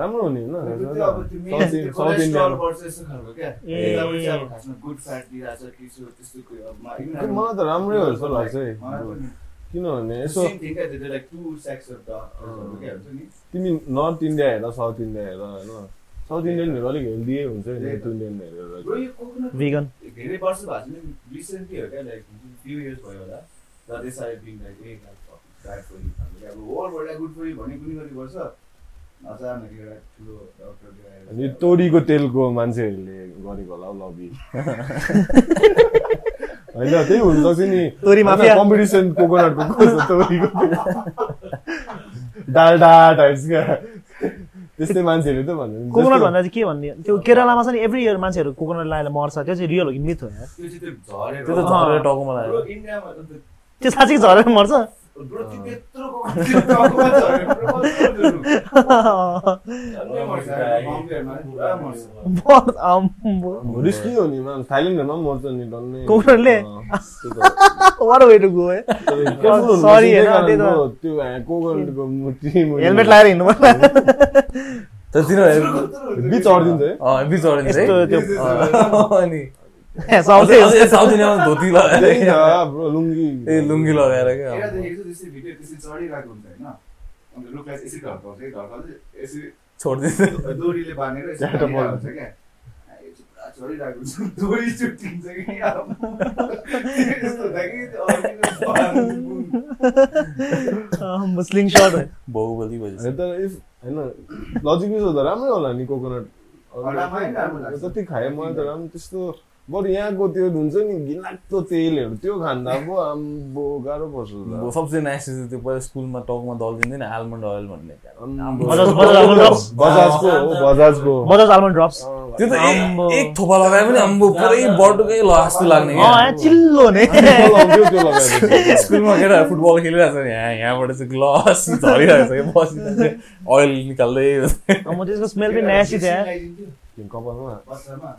Speaker 2: राम्रो हुने
Speaker 4: त्यो
Speaker 2: होइन
Speaker 4: अब त्यो
Speaker 2: south
Speaker 4: men
Speaker 2: in- south Indian
Speaker 4: cholesterol बढ्छ यस्तो खालको क्या
Speaker 1: ए।
Speaker 4: यताबाट चाहिँ अब खासमा गुड फ्याट दिइरहेछ के छ त्यस्तो कोही अब मा-
Speaker 2: ए, मलाई त राम्रै हो जस्तो लाग्छ है।
Speaker 4: मलाई पनि।
Speaker 2: किनभने
Speaker 4: त्यो
Speaker 2: यसो
Speaker 4: same thing क्या, त्यो like two sets of doctors क्या हुन्छ नि।
Speaker 2: तिमी नर्थ इन्डिया हेर साउथ इन्डिया हेर होइन साउथ इन्डियनहरू अलिक हेल्दी हुन्छ नि नर्थ इन्डियन
Speaker 4: Bro,
Speaker 2: हेरेर
Speaker 4: यो coconut
Speaker 1: भिगन
Speaker 4: धेरै वर्ष भएको छैन रिसेन्टली हो क्या लाइक फ्यु इयर्स भयो होला र त्यसरी being like a bad for you भन्दै अब वर्ल्डबाट गुड फर यु भन्ने कुनै गरी गर्छ अचानक एउटा ठुलो डक्टरले आएर
Speaker 2: अनि तोरीको तेलको मान्छेहरूले गरेको होला हौ लबी होइन त्यही हुनसक्छ नि
Speaker 1: तोरी माफिया।
Speaker 2: कम्पिटिसन कोकोनटको को छ तोरीको तेल। डाल्डा टाइप्स क्या त्यस्तै मान्छेहरू त भन्नु
Speaker 1: कोकोनट भन्दा चाहिँ के भन्ने त्यो केरलामा छ नि एभ्री इयर मान्छेहरू कोकोनट लगाएर मर्छ त्यो चाहिँ रियल हो कि मिथ हो यार
Speaker 4: त्यो
Speaker 3: त्यो
Speaker 4: चाहिँ त्यो झरेर
Speaker 3: त झरेर टाउकोमा
Speaker 4: ब्रो,
Speaker 3: लाग्यो
Speaker 4: इन्डियामा त त्यो-
Speaker 1: त्यो साँच्चीकै झरेर मर्छ
Speaker 4: ब्रो, त्यो त्यत्रोको त्यो टाउकोमा झरेर ब्रो, कत्रोहरू। झन्डै मर्छ, बम्बेहरूमा पुरा मर्छ।
Speaker 1: मर्- आम्बो।
Speaker 2: रिस्की हो नि मान थाइल्यान्डहरूमा पनि मर्छ नि डल्लै
Speaker 1: कोकोनटले?
Speaker 2: अँ, त्यही त।
Speaker 1: What a way to go, है।
Speaker 2: Careful हुनुपर्छ,
Speaker 1: Sorry,
Speaker 2: त्यही
Speaker 1: होइन,
Speaker 2: कारण
Speaker 1: त्यही त।
Speaker 2: हो, त्यो ह्या- कोकोनटको मुठी मुठी-
Speaker 1: हेलमेट लगाएर हिँड्नु पर्ला
Speaker 3: तर तिनीहरू
Speaker 4: कत्रोहरू
Speaker 2: बिच चढिदिन्छ है
Speaker 3: अँ, बिच चढिन्छ है
Speaker 1: यस्तो त्यो
Speaker 3: अँ, अनि
Speaker 1: ए, साउथै हो।
Speaker 3: अझै साउथ इन्डियामा धोती लगाएर
Speaker 2: त्यही त, bro, लुङ्गी
Speaker 3: ए लुङ्गी लगाएर क्या
Speaker 4: केटा देखेको छु, त्यसै भिडियो त्यसै चढिरहेको हुन्छ होइन अन्त रुखलाई चाहिँ यसरी ढल्काउँछ है ढल्काउँछ यसरी
Speaker 3: छोडिदिन्छ
Speaker 4: डोरीले बाँधेर यसरी
Speaker 2: च्याटा
Speaker 4: बाँधिरहेको हुन्छ क्या आ, यो चाहिँ पुरा छोडिरहेको छु दोरी चुट्टिन्छ कि अब। यस्तो हुँदा कि त्यो अरूतिर भएन।
Speaker 1: स्लिङ सर्ट
Speaker 3: बाहुबली भएपछि
Speaker 2: होइन, तर इफ होइन लजिक युज हुँदा राम्रै होला नि कोकोनट
Speaker 4: राम्रो होइन, राम्रो लाग्छ।
Speaker 2: जति खाएँ मलाई त राम्रो त्यस्तो बरु यहाँको त्यो हुन्छ नि घिनलाग्दो तेलहरू त्यो खाँदा अब आम्बो गाह्रो पर्छ होला।
Speaker 3: अब सबसे नाइस चाहिँ त्यो पहिला स्कुलमा टाउकोमा दलिदिन्थेन आल्मोन्ड अयल भन्ने
Speaker 2: आम्बो।
Speaker 1: बजाज बजाज आल्मोन्ड ड्रप्स
Speaker 2: बजाजको हो बजाजको
Speaker 1: बजाज आल्मोन्ड ड्रप्स
Speaker 2: अँ,
Speaker 3: त्यो त
Speaker 1: आम्बो।
Speaker 3: एक- एक थोपा लगायो भने अम्बो पुरै बटुकै ल जस्तो लाग्ने
Speaker 1: अँ
Speaker 3: क्या
Speaker 1: ए, चिल्लो ने
Speaker 2: त्यो लगाउँथ्यो, त्यो लगाएर
Speaker 3: स्कुलमा केटाहरू फुटबल खेलिरहेको छ यहाँ यहाँबाट चाहिँ ग्लस झरिरहेको छ कि बसिरहेको छ अयल निकाल्दै
Speaker 1: अँ, म त्यसको स्मेल पनि न्यासी थियो यार।
Speaker 4: लगाइदिन्थ्यो,
Speaker 2: त्यो कपालमा
Speaker 4: बच्चामा।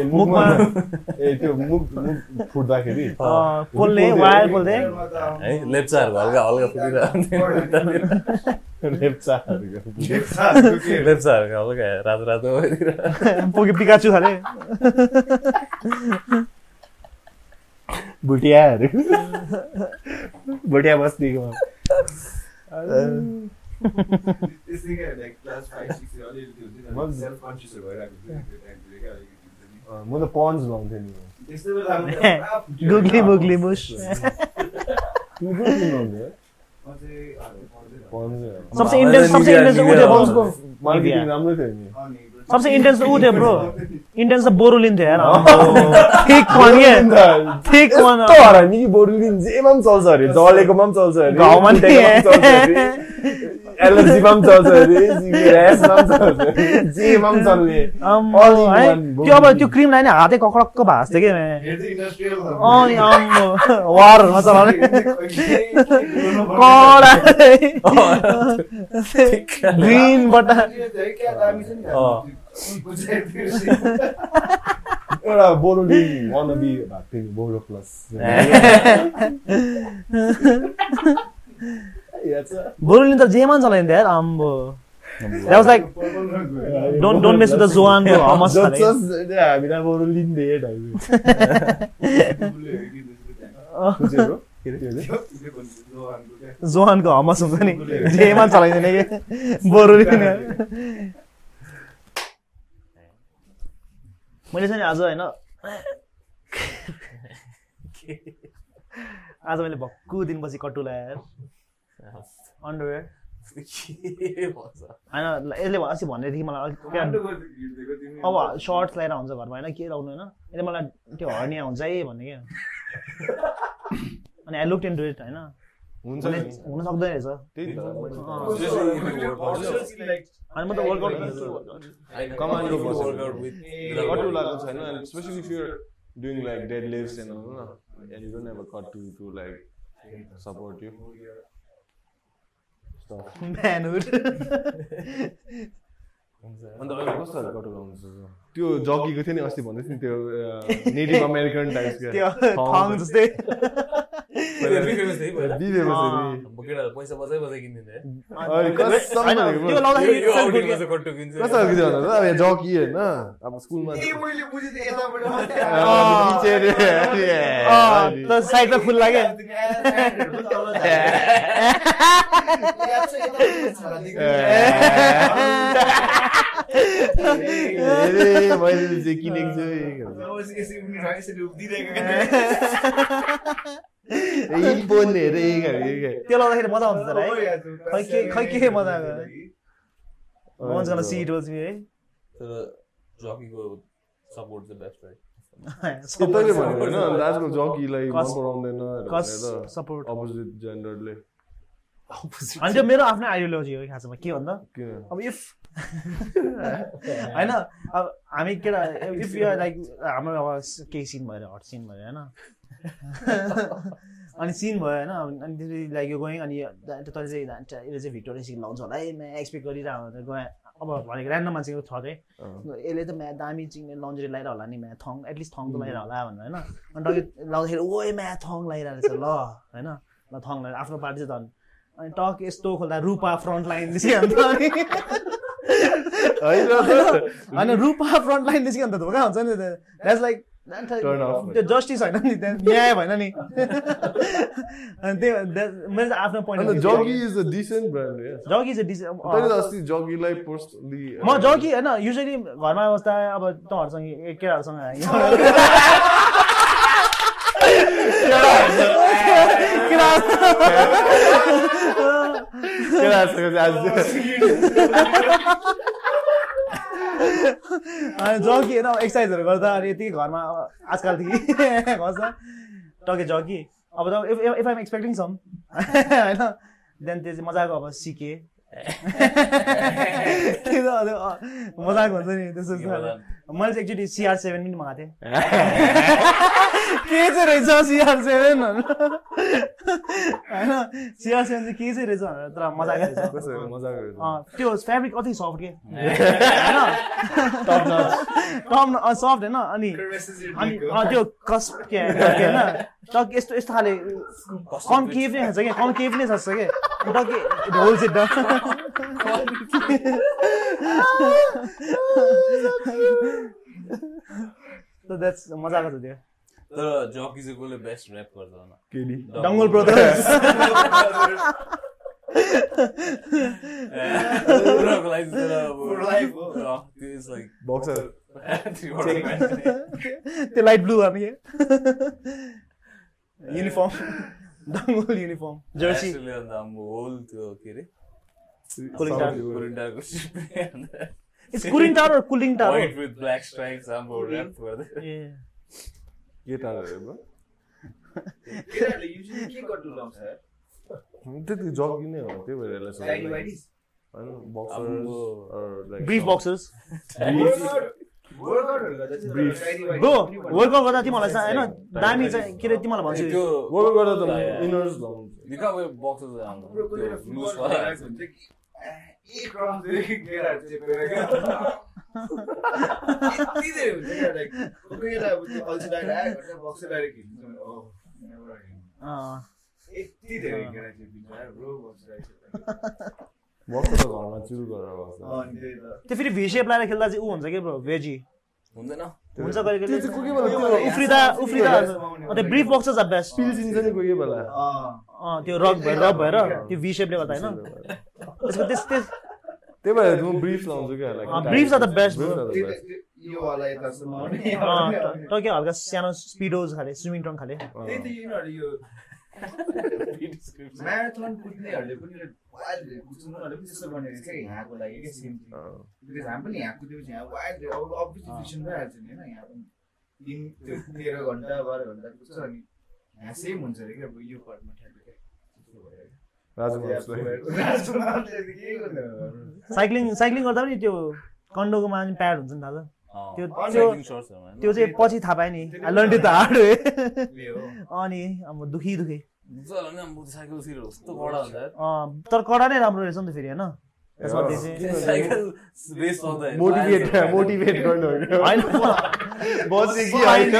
Speaker 2: ए मुखमा ए त्यो मुख मुख फुट्दाखेरि
Speaker 1: अँ, पोल्ने वायर पोल्ने
Speaker 4: घरमा त अब
Speaker 3: है लेप्चाहरूको हल्का हल्का फुटिरहेको
Speaker 2: लेप्चाहरूको
Speaker 4: लेप्चाहरूको के हो?
Speaker 3: लेप्चाहरूको हल्का रातो रातो भइरहेको।
Speaker 1: पोके पिकाचु खाले
Speaker 2: भुटियाहरू भुटिया बस्तीको
Speaker 4: त्यस्तै क्या, like, class five, six तिर अलिअलि त्यो हुन्छ नि,
Speaker 2: मजा-
Speaker 4: self-consciousहरू भइरहेको थियो नि त्यो टाइमतिर क्या, अलिकति हुन्छ नि।
Speaker 2: अँ, म त पन्स लाउँथेँ नि
Speaker 4: त्यस्तो बेला म त पुरा फुट्यो
Speaker 1: गुग्ली
Speaker 4: क्या।
Speaker 1: बुग्ली मुस
Speaker 2: तिमी कुन कुन लाउँथ्यो
Speaker 4: म चाहिँ घरमा पढ्दै थिएँ।
Speaker 2: पन्स
Speaker 1: सबसे इन्टेन्स सबसे इन्टेन्स ऊ थियो ब्रो
Speaker 2: पन्सको मार्केटिङ राम्रो थियो नि
Speaker 4: अनि bro,
Speaker 1: सबसे इन्टेन्स ऊ थियो ब्रो इन्टेन्स त बोरुलिन थियो यार ठिक वान के ठिक वान
Speaker 2: यस्तो हरामी कि बोरुलिन जेमा पनि चल्छ अरे जलेकोमा पनि चल्छ अरे
Speaker 1: घाउमा नि।
Speaker 2: खुट्टेकोमा पनि चल्छ अरे एलर्जीमा पनि चल्छ अरे र्यासमा पनि चल्छ अरे जेमा पनि चल्ने
Speaker 1: अम्बो,
Speaker 2: All in
Speaker 1: है
Speaker 2: one,
Speaker 1: त्यो अब
Speaker 2: बोरुलिन।
Speaker 1: त्यो क्रिम लाइन हातै कक्रक्क भएको थियो कि
Speaker 4: हेर्दै industrial भयो।
Speaker 1: अँ नि अम्बो वारहरूमा चलाउने कडा ग्रिन बटा
Speaker 4: क्या दामी छ नि हाम्रो।
Speaker 3: अँ।
Speaker 4: बुझाइ बिर्सेँ।
Speaker 2: एउटा बोरुलिन वनबी भएको थियो नि बोरो प्लस याद छ?
Speaker 1: बोरुलिन त जेमा नि चलाइन्थ्यो यार अम्बो द्याट वाज लाइक
Speaker 4: पर्पल रङको हो।
Speaker 1: Don't don't mess with the जोवानको हमस
Speaker 2: जस-
Speaker 1: खाले
Speaker 2: जस- ए, हामीलाई बोरुलिन दिए ढाइबे।
Speaker 4: फुलले हो कि त्यस्तो त्यहाँ।
Speaker 2: कुन चाहिँ हो? के अरे, के अरे?
Speaker 4: त्यो फुलले भन्छ, लोहानको क्या।
Speaker 1: जोवानको हमस हुन्छ नि जेमा चलाइँदैन कि बोरुलिन मैले चाहिँ नि आज होइन आज मैले भक्कु दिनपछि कट्टु लगाएँ यार अन्डरवेयर
Speaker 3: के भन्छ?
Speaker 1: होइन ल- यसले अस्ति भनेदेखि मलाई अलिक क्या
Speaker 4: कमान्डो गर्दै हिँड्दै तिमी।
Speaker 1: अब सर्ट्स लगाएर हुन्छ घरमा होइन के लगाउनु होइन यसले मलाई त्यो हर्निया हुन्छ है भन्ने क्या अनि I look into it होइन
Speaker 2: हुन्छ
Speaker 1: भने
Speaker 2: नि।
Speaker 1: हुन सक्दैन रहेछ
Speaker 2: त्यही त।
Speaker 1: अँ।
Speaker 4: Obviously, like,
Speaker 1: अनि म त वर्कआउट गर्छु
Speaker 2: कमान्डो बस्यो।
Speaker 3: Workout with-
Speaker 4: ए,
Speaker 2: कट्टु लगाएको छैन and especially if you're doing like deadlifts and all, no? And you don't have a cuttu to like support you. Stuff.
Speaker 1: म्यानहुड
Speaker 2: अन्त अहिले कस्तो खालको कट्टु लाउनुहुन्छ त्यो? त्यो जगीको थियो नि अस्ति भन्दै थियो नि त्यो नेटिभ अमेरिकन
Speaker 1: त्यो थङ जस्तै
Speaker 3: त्यो बिग्रेको छ है पहिला।
Speaker 2: टाइप्सको
Speaker 3: अब केटाहरू पैसा बचाइ बचाइ किनिदिने।
Speaker 1: होइन, त्यो लाउँदाखेरि
Speaker 3: यो- यो
Speaker 1: self good
Speaker 3: outing-मा चाहिँ कट्टु किन्छ।
Speaker 2: कस्तो खालको थियो भन्दा अब जकी होइन अब स्कुलमा
Speaker 4: ए, मैले बुझेँ त्यो यताबाट मात्रै
Speaker 2: अँ,
Speaker 4: आयो।
Speaker 2: पछि अरे, अरे,
Speaker 1: के- अँ, त्यो साइडमा खुल्ला क्या
Speaker 4: त्यो एड- एडहरू पनि तल जान्छ। याद छ, यताबाट छाला देख्नु।
Speaker 2: अरे, मैले चाहिँ किनेको छु ए,
Speaker 4: अब यसरी उनीहरू यसरी उभिदिरहेको क्या।
Speaker 2: यी पोल्ने अरे, यी खालको, यी खालको।
Speaker 1: त्यो लाउँदाखेरि मजा आउँछ तर है
Speaker 4: हो यार, त्यो
Speaker 1: खै के- खै के मजा आएको।
Speaker 4: त्यो
Speaker 1: मजा गर्न सी रोज है
Speaker 3: तर जकीको support चाहिँ best right?
Speaker 2: तपाईँले भनेको होइन अन्त आजकल जकीलाई मन
Speaker 1: कस-
Speaker 2: पराउँदैन
Speaker 1: कस
Speaker 2: भनेर
Speaker 1: सपोर्ट
Speaker 2: अपोजिट जेन्डरले
Speaker 1: अनि त्यो मेरो आफ्नो आइडियोलोजी हो खासमा के भन्दा
Speaker 2: किन
Speaker 1: अब इफ होइन अब हामी केटा इफ यु लाइक हाम्रो अब स- केही सिन भयो हट सिन भयो होइन अनि सिन भयो होइन अब अनि त्यसपछि लाइक यो गएँ अनि तैँले चाहिँ धा- यसले चाहिँ भिक्टोरिया सिक्न लाउँछ होला है म एक्सपेक्ट गरिरहेको हुन्थ्यो गएँ अब भनेको ऱ्यान्डम मान्छेको छ चाहिँ
Speaker 2: अँ।
Speaker 1: यसले त म्या दामी चिङ्ने लन्जरी लगाएर होला नि म्या थङ एटलिस्ट थङ त लगाएर होला भनेर होइन अनि टक्कै लाउँदाखेरि ओए म्या थङ लगाइरहेको रहेछ ल होइन ल थङ लगाएर आफ्नो पार्टी चाहिँ धन अनि टक यस्तो खोल्दा रूपा फ्रन्ट लाइन दिसक्यो अन्त अनि-
Speaker 2: होइन त।
Speaker 1: होइन रूपा फ्रन्ट लाइन दिसक्यो अन्त धोका हुन्छ नि द्याट्स लाइक नान
Speaker 2: Mm-hmm. Turn off.
Speaker 1: त्यो जस्टिस होइन नि त्यहाँ न्याय भएन नि अनि त्यही भएर that- मैले चाहिँ आफ्नो
Speaker 2: अन्त
Speaker 1: point
Speaker 2: Jockey is a decent brand
Speaker 1: Jockey चाहिँ डिस-
Speaker 3: Oh,
Speaker 2: तैँले त
Speaker 1: अँ,
Speaker 2: अस्ति जगीलाई पर्सनली
Speaker 1: म जगी होइन युजली घरमा बस्दा अब तँहरूसँग ए, केटाहरूसँग केटा-
Speaker 3: Oh,
Speaker 1: अनि जगी होइन एक्सर्साइजहरू गर्दा अनि यति घरमा अब आजकल त के घस्छ टके जगी अब त if if I'm expecting some होइन देन त्यो चाहिँ मजाको अब सिकेँ त्यही त अब त्यो, अँ, मजाको हुन्छ नि त्यस्तो
Speaker 3: यो होला।
Speaker 1: जस्तो। मैले चाहिँ एकचोटि सिआर सेभेन पनि मगाएको थिएँ के चाहिँ रहेछ सिआर सेभेन होइन सिआर सेभेन चाहिँ के चाहिँ रहेछ भनेर तर मजाको रहेछ
Speaker 3: Ah,
Speaker 1: अँ, त्यो फेब्रिक अति सफ्ट के टम सफ्ट होइन अनि अनि अँ, त्यो कस्प के के होइन टक यस्तो यस्तो खाले कन्केभ नै खान्छ क्या कन्केभ नै छ कि टके ढोल चाहिँ डक So that's मजाको छ त्यो
Speaker 3: तर जकी चाहिँ कसले बेस्ट ऱ्याप गर्छ होला
Speaker 1: डङ्गोल ब्रदर्स
Speaker 3: उनीहरूको लागि चाहिँ तर अब-
Speaker 4: For life हो।
Speaker 3: अँ, त्यो is like
Speaker 2: boxer
Speaker 3: three order man.
Speaker 1: त्यो लाइट ब्लू गर्ने uniform Dangol uniform jersey
Speaker 3: Actually, अन्त हाम्रो whole त्यो के अरे कुरिन्टारको ship नै अन्त
Speaker 1: it's cooling tower cooling tower
Speaker 3: white with black stripes हाम्रो rap गर्दै।
Speaker 2: केटाहरू ब्रो
Speaker 4: केटाहरूले usually के गर्नु लाउँछ यार?
Speaker 2: त्यति जगी नै हो त्यही भएर यसलाई
Speaker 4: Daddy
Speaker 2: सोध्दैन।
Speaker 4: whities?
Speaker 2: होइन
Speaker 3: आम्बो।
Speaker 2: बक्सर
Speaker 1: ब्रिफ बक्सेस
Speaker 4: Workout- workout-हरू गर्दा चाहिँ
Speaker 2: Brief.
Speaker 4: daddy whities
Speaker 1: ब्रो
Speaker 4: पनि भन्नु।
Speaker 1: वर्कआउट गर्दा तिमीहरूलाई चाहिँ होइन दामी चाहिँ के अरे तिमीलाई
Speaker 3: ए,
Speaker 1: भन्छु
Speaker 3: त्यो
Speaker 2: वर्क गर्दा त
Speaker 3: Yeah, yeah.
Speaker 2: इनर्स लाउनु
Speaker 3: You can't wear boxers around.
Speaker 4: हाम्रो कोही बेला
Speaker 3: त्यो
Speaker 4: football
Speaker 3: loose वाला।
Speaker 4: खेलिरहेको हुन्छ कि, आह, एक round चाहिँ केटाहरू चेपेर क्या। यति धेरै हुन्छ क्या, like, कोही बेला अब त्यो अल्छी लागेर आयो, घन्टा बक्सै बाहिर खेल्नु, ओह, यहाँबाट हिँड्नु।
Speaker 1: Ah.
Speaker 4: यति धेरै केटा चेपिन्छ यार, bro, बक्सै बाहिर खेल्दा।
Speaker 2: बक्सर त घरमा चिल गरेर बस्छ
Speaker 3: Oh,
Speaker 4: अनि त्यही त।
Speaker 1: त्यो फेरि भी सेप लगाएर खेल्दा चाहिँ ऊ हुन्छ कि ब्रो भेजी
Speaker 3: हुँदैन
Speaker 1: हुन्छ कहिले
Speaker 2: त्यो चाहिँ कोही कोही
Speaker 1: कहिले
Speaker 2: बेला त्यो
Speaker 1: उफ्रिँदा उफ्रिँदा अन्त ब्रिफ बक्सेस आर बेस्ट
Speaker 2: चिन्छ नि कोही कोही बेला
Speaker 4: अँ,
Speaker 1: अँ त्यो रक भएर रक भएर त्यो भी सेपले गर्दा होइन त्यसको त्यस त्यस
Speaker 2: त्यही भएर म ब्रिफ लाउँछु क्या
Speaker 1: अँ, Uh, briefs are the best, bro.
Speaker 4: त्यही त, त्यो- योवाला यतासम्म आउने।
Speaker 1: अँ, त- टक्कै हल्का सानो स्पिडोज खाले स्विमिङ ट्रङ खाले
Speaker 2: Oh.
Speaker 4: त्यही त यिनीहरू यो म्याराथन कुद्नेहरूले पनि wild रे कुद्छ, उनीहरूले पनि त्यस्तो गर्ने रहेछ क्या यहाँको लागि क्या सेम थिङ
Speaker 2: Oh.
Speaker 4: बिकज हामी पनि यहाँ कुदेपछि यहाँ वाइल्ड रे अब अभियसली फिक्सन भइहाल्छ नि होइन यहाँ पनि तिन त्यो तेह्र घन्टा बाह्र घन्टा कुद्छ अनि यहाँ सेम हुन्छ अरे क्या अब यो पार्टमा ठ्याक्कै क्या त्यस्तो भएर क्या।
Speaker 2: राजु भाइ
Speaker 4: त्यहाँ राजकुमारले त के गर्ने हो?
Speaker 1: साइक्लिङ साइक्लिङ गर्दा पनि त्यो कन्डोको माथि प्याड हुन्छ नि दाजु
Speaker 3: अँ,
Speaker 1: त्यो-
Speaker 3: cycling shorts हरू होइन।
Speaker 1: त्यो चाहिँ पछि थाहा पाएँ नि I learn it the hard way
Speaker 4: उयो हो।
Speaker 1: अनि अब दुखी दुखी
Speaker 3: हुन्छ होला नि, आम्बो, त्यो cycle सिटहरू कस्तो कडा हुन्छ यार।
Speaker 1: अँ, तर कडा नै राम्रो रहेछ नि त फेरि होइन त्यसमा त्यो चाहिँ
Speaker 3: Cycle race सक्दैन।
Speaker 2: मोटिभेट मोटिभेट गर्नु हो क्या
Speaker 1: होइन
Speaker 2: बसे कि होइन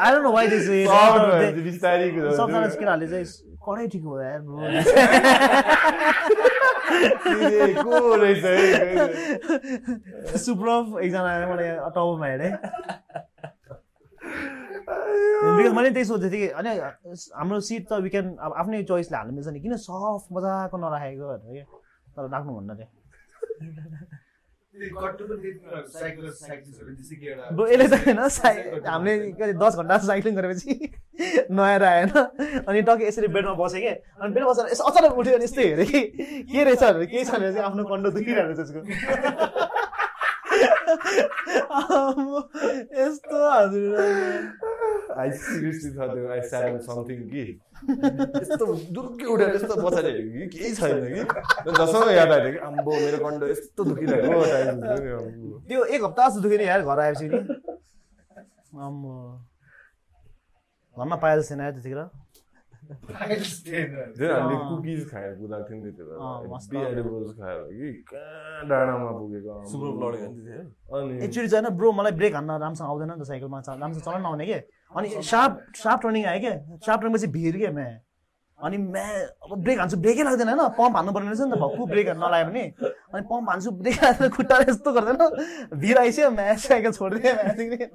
Speaker 1: I don't know why this is
Speaker 2: Soft भएपछि बिस्तारै कुदाउँछु।
Speaker 1: सबजना चाहिँ केटाहरूले चाहिँ कडै ठिक हो यार bro।
Speaker 2: ए, को रहेछ है?
Speaker 1: सुप्रभ एकजना आएर मलाई टपमा हेरेँ बिकज मैले त्यही सोच्दै थिएँ कि अनि हाम्रो सिट त वी क्यान अब आफ्नै चोइसले हाल्नु मिल्छ नि किन सफ्ट मजाको नराखेको भनेर क्या तर राख्नुहुन्न थियो
Speaker 4: त्यो कट्टु पनि त्यति नरहेको, cyclist- cyclistहरू पनि त्यसै के एउटा-
Speaker 1: ब्रो यसले त होइन साइ हामीले कति दस घन्टा साइक्लिङ गरेपछि नआएर आएन अनि टक्कै यसरी बेडमा बसेँ कि अनि बेडमा बसेर यसो अचानक उठ्यो अनि यस्तै हेरेँ कि के रहेछ भनेर केही छैन रहेछ आफ्नो कन्डो दुखिरहेको रहेछ त्यसको आम्बो, यस्तो हजुर
Speaker 2: I seriously thought that I sat on something कि। यस्तो दुर्के उठाएर यस्तो पछाडि हेरेको कि केही छैन कि जसँग याद आयो कि आम्बो मेरो कन्डो यस्तो दुखिरहेको टाइम हुन्छ नि, आम्बो।
Speaker 1: त्यो एक हप्ता जस्तो दुखेन यार घर आएपछि नि आम्बो घरमा पाए जस्तो छैन आयो त्यतिखेर
Speaker 4: Files थिएन।
Speaker 2: जुन हामीले
Speaker 1: अँ।
Speaker 2: कुकिज खाएर कुदाएको थियौँ नि त्यति
Speaker 1: अँ, Ah. मस्त।
Speaker 2: बेला एडिबल्स खाएर कि कहाँ डाँडामा पुगेको आम्बो।
Speaker 3: Super blood गर्दै थियो।
Speaker 2: अनि
Speaker 1: एक्चुली चाहिँ होइन ब्रो मलाई ब्रेक हान्न राम्रोसँग आउँदैन नि त साइकलमा चा- राम्रोसँग चलाउन आउने के अनि सार्प सार्प टर्निङ आयो क्या सार्प टर्निङ पछि भिर क्या म्या अनि म्या अब ब्रेक हान्छु ब्रेकै लाग्दैन होइन पम्प हान्नु पर्ने रहेछ नि त भक्कु ब्रेक नलायो भने अनि पम्प हान्छु ब्रेक हाल्दैन खुट्टा यस्तो गर्दैन भिर आइसक्यो म्याच आएको छोडिदिएँ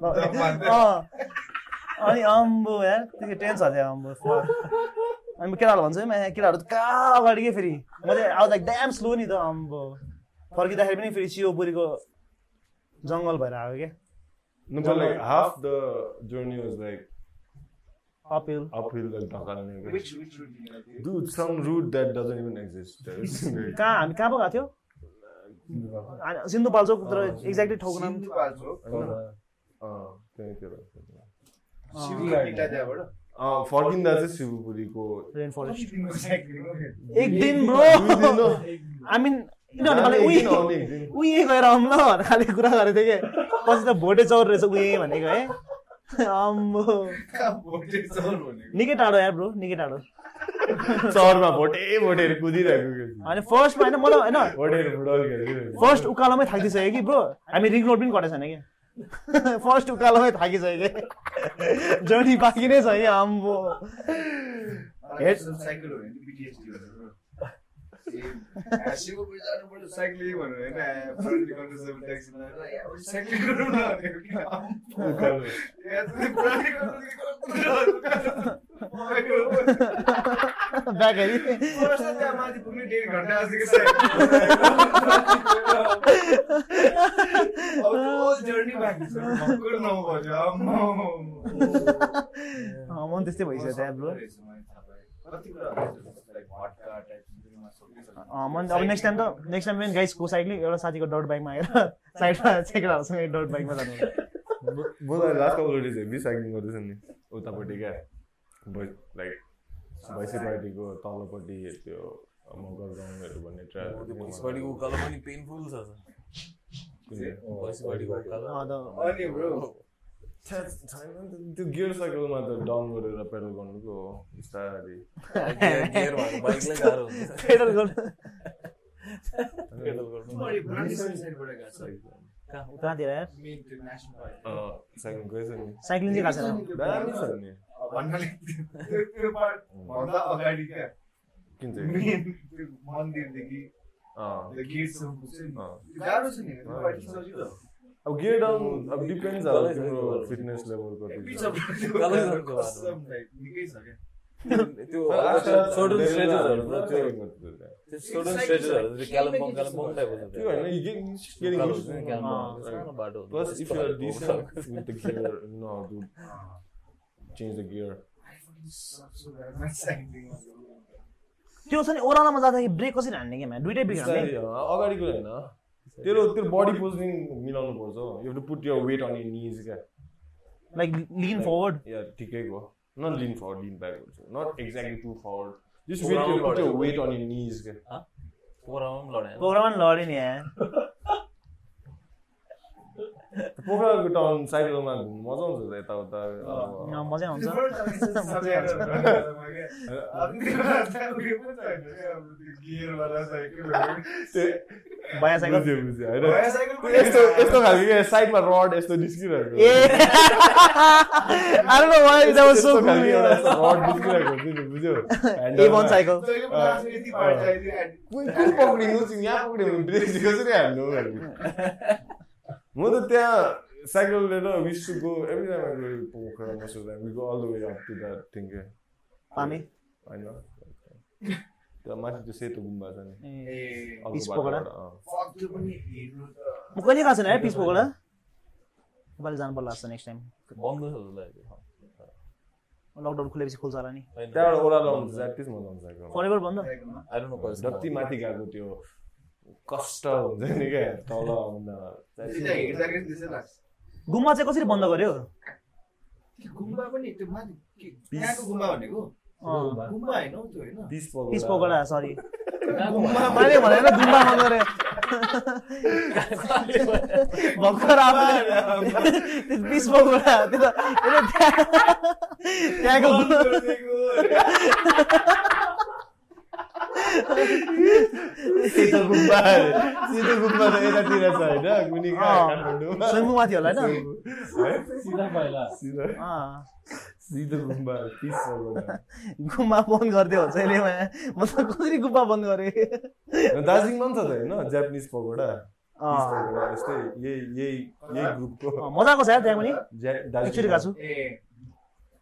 Speaker 1: म्याच आइसक्यो। अँ। अनि अम्बो यार त्यो टेन्स हाल्थ्यो अम्बो अनि म केटाहरू भन्छु है म्या केटाहरू त कहाँ अगाडि के फेरि म चाहिँ आउँदा ड्याम स्लो नि त अम्बो फर्किँदाखेरि पनि फेरि सियोपुरीको जङ्गल भएर आयो क्या
Speaker 2: No, but like half the journey was like
Speaker 1: uphill
Speaker 2: uphill like Dhakal
Speaker 4: Which which route did you like?
Speaker 2: Dude, some route that doesn't even exist. It's weird.
Speaker 1: कहाँ हामी कहाँ पो गएको थियो आ- सिन्धुपाल्चोक तर
Speaker 2: अँ,
Speaker 1: एक्ज्याक्टली ठाउँको नाम
Speaker 4: सिन्धुपाल्चोक,
Speaker 2: अँ, त्यहीँतिर
Speaker 4: सिलगढी त्यहाँबाट।
Speaker 2: अँ, फर्किँदा चाहिँ शिवपुरीको
Speaker 1: रेन फरेस्ट
Speaker 4: कति दिनको cycling हो?
Speaker 1: एक दिन
Speaker 2: दुई दिन
Speaker 1: ब्रो
Speaker 2: हो।
Speaker 1: आई मिन
Speaker 2: जाने
Speaker 1: किनभने मलाई
Speaker 2: एक
Speaker 1: उही
Speaker 2: दिन, आउने एक दिन।
Speaker 1: उही गएर आउँ ल भनेर खालि कुरा गरेको थिएँ कि पछि त भोटे चौर रहेछ उही भनेको है आम्बो
Speaker 4: कहाँ भोटे चौर भनेको?
Speaker 1: निकै टाढो यार ब्रो निकै टाढो
Speaker 2: सहरमा भोटे भोटेहरू कुदिरहेको के थियो।
Speaker 1: अनि फर्स्टमा होइन मलाई होइन
Speaker 2: भोटेहरू फुटबल खेलिरहेको
Speaker 1: फर्स्ट उकालोमै थाकिसक्यो कि ब्रो हामी रिङ रोड पनि कटेको छैन कि फर्स्ट उकालोमै थाकिसक्यो कि जर्नी बाँकी नै छ कि आम्बो
Speaker 4: मलाई त्यस्तो cycle हो भने त PTSD हुन्छ, bro। ए, सिलगढी जानुपर्छ cycling भनेर होइन, ए, friendly conversation taxi भनेर, ए, अब cycling गरौँ न भनेको किन?
Speaker 2: थियो।
Speaker 4: ए, त्यो friendly conversation गरेको।
Speaker 1: ब्याग हेरी
Speaker 4: फर्स्ट त त्यहाँ माथि पुग्ने डेढ घन्टा जस्तो cycle अब त्यो journey बाँकी छ, भक्कु नपर्यो, आम्मामा।
Speaker 1: अँ, मन त्यस्तै भइसक्यो त्यहाँ ब्रो अँ, मन अब नेक्स्ट टाइम त नेक्स्ट टाइम पनि गाइस को साइक्लिङ एउटा साथीको डट बाइकमा आएर साइडमा सेकेन्डहरूसँग डट बाइकमा जानु
Speaker 2: मलाई last couple days heavy cycling गर्दैछ नि उतापट्टि क्या भै- लाइक भैँसे पार्टीको तल्लोपट्टि त्यो मगर गाउँहरू भन्ने ट्रायल
Speaker 3: भैँसीबारीको उकालो पनि पेनफुल छ
Speaker 2: Oh,
Speaker 3: भैँसीबारीको उकालो
Speaker 1: अँ, त-
Speaker 3: Oh.
Speaker 2: त्यो गियर साइकलमा त डाउन गरेर पेडल गर्नुको हो, बिस्तारै
Speaker 3: गियर- गियर भएको बाइकलाई गाह्रो हुन्छ
Speaker 1: पेडल गर्नु
Speaker 3: पेडल गर्नु कहाँ उता
Speaker 1: कहाँतिर यार
Speaker 2: अँ, साइक्लिङ गएछ नि
Speaker 1: साइक्लिङ चाहिँ खास छैन
Speaker 2: दामी छ नि किन चाहिँ
Speaker 4: मन्दिरदेखि
Speaker 2: अँ,
Speaker 4: गेटसम्म पुग्छ नि
Speaker 2: अँ।
Speaker 4: गाह्रो छ नि त्यो बाटो सजिलो।
Speaker 2: अब गियर डाउन अब डिपेन्ड अब तिम्रो फिटनेस लेभल
Speaker 4: ए,
Speaker 2: कति छ।
Speaker 4: पिच अप
Speaker 3: उकालै जानुको बाटो।
Speaker 4: कसम लाइक निकै छ क्या।
Speaker 3: त्यो
Speaker 2: तर आजकल
Speaker 3: सोडन
Speaker 2: धेरै
Speaker 3: स्ट्रेचेसहरू
Speaker 2: जनाहरू
Speaker 3: त
Speaker 2: त
Speaker 3: त्यो
Speaker 2: touring गर्छ।
Speaker 3: त्यो सोडन स्ट्रेचेसहरू त त्यो कालिम्पोङ कालिम्पोङ टाइप हुन्छ
Speaker 2: त्यो होइन, you get- you just getting used to it. Ah, Plus, if you're decent with the gear, no, dude, change the gear.
Speaker 4: I fucking suck so bad. My cycling was over.
Speaker 1: त्यो छ नि ओह्रालोमा जाँदाखेरि brake कसरी हान्ने कि म्या दुइटै brake हान्ने
Speaker 2: बिस्तारै, अँ, अगाडिको होइन तेरो तेरो बडी पोजिङ मिलाउनु पर्छ हो you to put your weight on your knees क्या
Speaker 1: लाइक लिन फरवर्ड
Speaker 2: या ठिकैको नट लिन फरवर्ड लिन ब्याक हुन्छ not exactly to forward just wait you put your weight on your knees क्या
Speaker 1: पोखरामा पनि लड्यो नि यार
Speaker 2: पोखराको टाउन साइकलमा घुम्नु मजा आउँछ त यताउता अब-
Speaker 1: अँ, मजै आउँछ
Speaker 2: त्यो-
Speaker 1: बाया साइकल
Speaker 2: बुझ्यो, बुझ्यो, होइन? यस्तो यस्तो खालको क्या साइडमा रड यस्तो निस्किरहेको
Speaker 1: ए I don't know why that was so cool
Speaker 2: यस्तो खालको एउटा यस्तो रड निस्किरहेको हुन्छ नि, बुझ्यो?
Speaker 1: ए वन साइकल
Speaker 2: कुन कुन पक्रिनु चाहिँ यहाँ पक्रिनु ब्रेक चाहिँ कसरी हाल्नु भनेको। म त त्यहाँ साइकल लिएर विश्वको एभ्री टाइम आई गो पोखरामा so that we go all the way up to that thing के
Speaker 1: पामे
Speaker 2: होइन त्यो माथि त्यो सेतो गुम्बा छ नि
Speaker 1: ए,
Speaker 2: अर्को
Speaker 1: पिस पोखरा?
Speaker 2: बाटोबाट, अँ।
Speaker 1: म कहिले गएको छैन यार पिस पोखरा नेपाली जानु पर्ला जस्तो नेक्स्ट टाइम लकडाउन खुलेपछि खुल्छ होला नि
Speaker 2: त्यहाँबाट ओह्रालो आउँछ एटलिस्ट मजा आउँछ साइकलमा।
Speaker 1: फरेभर बन्द
Speaker 2: जति माथि गएको त्यो कष्ट हुन्छ नि क्या तल आउँदा
Speaker 1: गुम्बा चाहिँ कसरी बन्द गर्यो
Speaker 4: गुम्बा पनि त्यो माथि के- त्यहाँको गुम्बा भनेको
Speaker 1: अँ,
Speaker 4: गुम्बा होइन हौ त्यो होइन
Speaker 2: peace
Speaker 1: peace
Speaker 2: Pokhara
Speaker 1: Pokhara sorry मैले भने गुम्बा बन्द गरे भर्खर आफूले त्यो पिस पोखरा त्यो त त्यो त त्यहाँ- त्यहाँको गुम्बा-
Speaker 2: सेतो गुम्बा अरे। सेतो गुम्बा त यतातिर छ होइन कुनै कहाँ
Speaker 1: अँ,
Speaker 2: काठमाडौँमा
Speaker 1: सुइमिङ माथि होला होइन
Speaker 2: है? सिधा-
Speaker 1: अँ,
Speaker 2: सिधो गुम्बा पिस
Speaker 1: गुम्बा बन्द गरिदियो भने चाहिँ लेमा म त कसरी गुम्बा बन्द गरेँ
Speaker 2: दार्जिलिङमा पनि छ त होइन जापानिज पकौडा
Speaker 1: अँ,
Speaker 2: पिस पकौडा यस्तै यही यही यही ग्रुपको
Speaker 1: अँ, मजाको छ यार त्यहाँ पनि
Speaker 2: ज्या-
Speaker 1: एकचोटि गएको छु
Speaker 2: दार्जिलिङ
Speaker 4: ए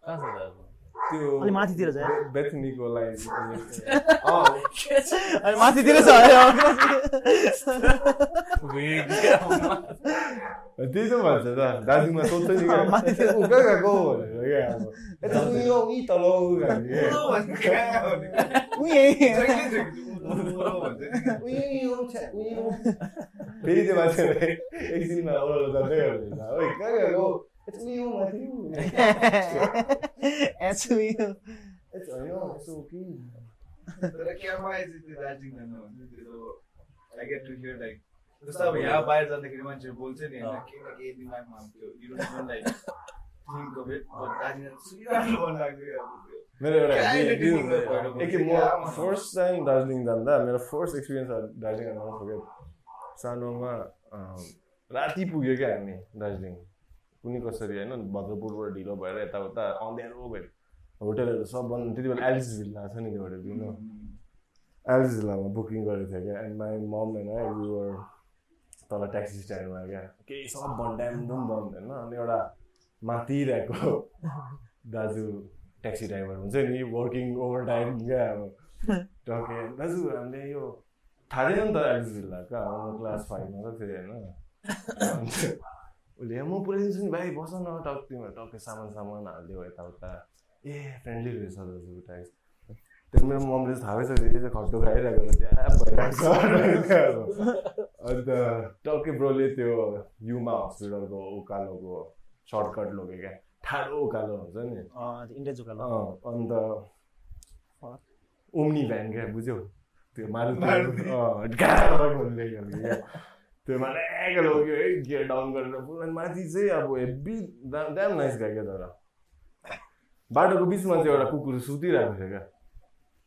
Speaker 3: कहाँ छ दाजु?
Speaker 2: त्यो
Speaker 1: अलि माथितिर छ यार।
Speaker 2: बे- बेथनीको लाइन
Speaker 1: अनि माथितिर छ अरे,
Speaker 2: त्यही त भन्छ त दार्जिलिङमा सोध्छ नि क्या,
Speaker 1: माथितिर।
Speaker 2: ऊ कहाँ गएको भनेर क्या अब यता उही हो, उही तल हो भन्ने क्या।
Speaker 4: ओ भन्ने कहाँ भन्ने?
Speaker 1: ऊ यहीँ।
Speaker 4: जहिले जहिले ओ, ओ भन्छ नि।
Speaker 2: फेरि त्यो मान्छेलाई एकछिनमा ओह्रालो जाँदै गरेर, ओइ, कहाँ गएको? यता उही हो, माथि हो।
Speaker 1: यसो यो।
Speaker 2: यता होइन, यसो कि।
Speaker 4: तर क्याम्पमा आएपछि त्यो दार्जिलिङ जानु भन्छ नि, त्यो त I get to hear like, जस्तो अब यहाँ बाहिर जाँदाखेरि मान्छेहरू बोल्छ नि होइन, केही न केही दिमागमा हुन्थ्यो। You don't even like think of it, but Darjeeling सुनिरहनु मन लाग्थ्यो क्या अब त्यो।
Speaker 2: मेरो एउटा
Speaker 4: क्या
Speaker 2: view- view
Speaker 4: identity भयो
Speaker 2: भयो।
Speaker 4: अब?
Speaker 2: एक खेप म
Speaker 4: क्या आमा?
Speaker 2: फर्स्ट टाइम दार्जिलिङ जाँदा मेरो फर्स्ट एक्सपिरियन्स दार्जिलिङ जाँदा पुग्यो सानोमा अँ, राति पुग्यो क्या हामी दार्जिलिङ कुनै कसरी होइन भद्रपुरबाट ढिलो भएर यताउता अँध्यारो भयो होटलहरू सब बन्द त्यति बेला एलिस भिल्ला छ नि त्यो होटल होइन एलिस भिल्लामा बुकिङ गरेको थियो क्या एन्ड माई मम होइन युवर तल ट्याक्सी स्ट्यान्डमा क्या केही सब बन्द ड्यामडुम बन्द होइन अनि एउटा मातिरहेको दाजु ट्याक्सी ड्राइभर हुन्छ नि वर्किङ ओभर टाइम क्या अब टके दाजु हामीले यो थाहा थिएन नि त एलिस भिल्ला कहाँ हो? म क्लास फाइभमा त थिएँ होइन उसले म पुऱ्याइदिन्छु नि भाइ बस न टक तिमीहरू टक्कै सामान सामान हालिदियो यताउता ए फ्रेन्डली रहेछ दाजु ट्याक्स त्यहाँ मेरो मम्मीले थाहा भएछ यो चाहिँ खट्टो खाइरहेको रहेछ ड्याप भइरहेको छ अन्त टक्कै ब्रोले त्यो युमा हस्पिटलको उकालोको सर्टकट लग्यो क्या ठाडो उकालो हुन्छ नि
Speaker 1: अँ, त्यो इन्डियन जुकालो।
Speaker 2: अँ, अन्त ओम्नी भ्यान क्या बुझ्यौ त्यो
Speaker 4: मारुति।
Speaker 2: मारुति अँ, गाह्रो भएको ल्याइहाल्यो क्या। त्यो मलाई लग्यो है गियर डाउन गरेर पुरा माथि चाहिँ अब हेभी दाम नाइस गएको क्या तर बाटोको बिचमा चाहिँ एउटा कुकुर सुतिरहेको थियो क्या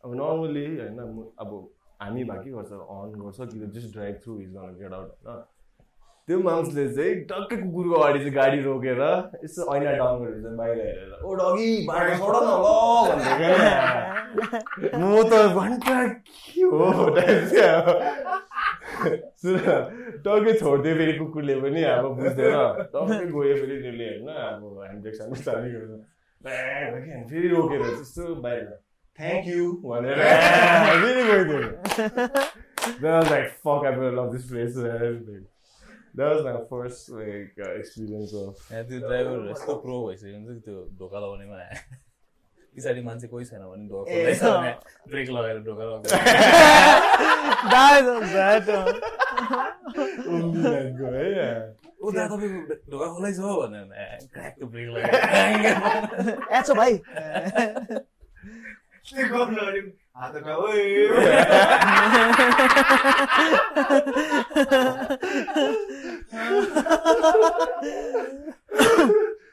Speaker 2: अब नर्मली होइन म- अब हामी भाकी गर्छ अन गर्छ कि जस्ट ड्राइभ थ्रु इज गर्न गेट आउट होइन त्यो मान्छेले चाहिँ टक्कै कुकुरको अगाडि चाहिँ गाडी रोकेर यसो ऐना डाउन गरेर चाहिँ बाहिर हेरेर ओ डगी बाटो छोड न ल भन्दै क्या। म त घन्टा के हो टाइप चाहिँ अब सुन टक्कै छोडिदियो फेरि कुकुरले पनि अब बुझ्दैन टक्कै गयो फेरि त्यसले होइन अब ह्यान्डब्रेक सानी गरेर ब्याङ गर्यो अनि फेरि रोकेर त्यस्तो बाहिर थ्याङ्क यू भनेर फेरि गइदियो Then I was like, fuck, I better love this place and everything. That was my first like uh, experience of
Speaker 3: यहाँ त्यो ड्राइभर यस्तो प्रो भइसक्यो भने चाहिँ त्यो ढोका लगाउनेमा आयो पछाडि मान्छे कोही छैन भने ढोका खोल्दैछ भने ब्रेक लगाएर ढोका लगाउँछ
Speaker 1: दाजु, दाजु।
Speaker 2: Umbilango, yeah.
Speaker 3: ऊ दा तपाईँको ढोका खोलाइ छ भनेर ए, क्र्याकको ब्रेक लगाएर
Speaker 1: ए, छो भाइ।
Speaker 4: के गर्नु अरे? हात उठा, ओए।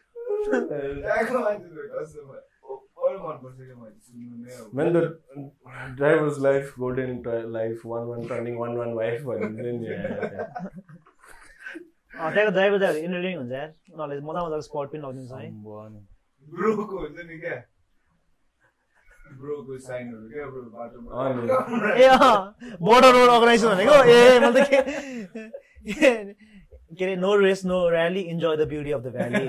Speaker 4: यहाँको मान्छेहरू कस्तो भयो? बढो मनपर्छ क्या मैले सुन्नु नै अब।
Speaker 2: Man, the driver's life, golden tri- life, one one turning, one one wife, one then yeah.
Speaker 1: अँ, त्यहाँको ड्राइभर दाजु इन्टरटेनिङ हुन्छ यार। उनीहरूले मजा मजाको स्पट पनि लगिदिन्छ है
Speaker 3: आम्बो नि।
Speaker 4: ब्रोको हुन्छ नि क्या ब्रोको साइनहरू क्या ब्रो बाटोमा
Speaker 2: अनि।
Speaker 1: ए बोर्डर रोड अर्गनाइजेसन भनेको ए मैले त के के अरे no race no rally enjoy the beauty of the valley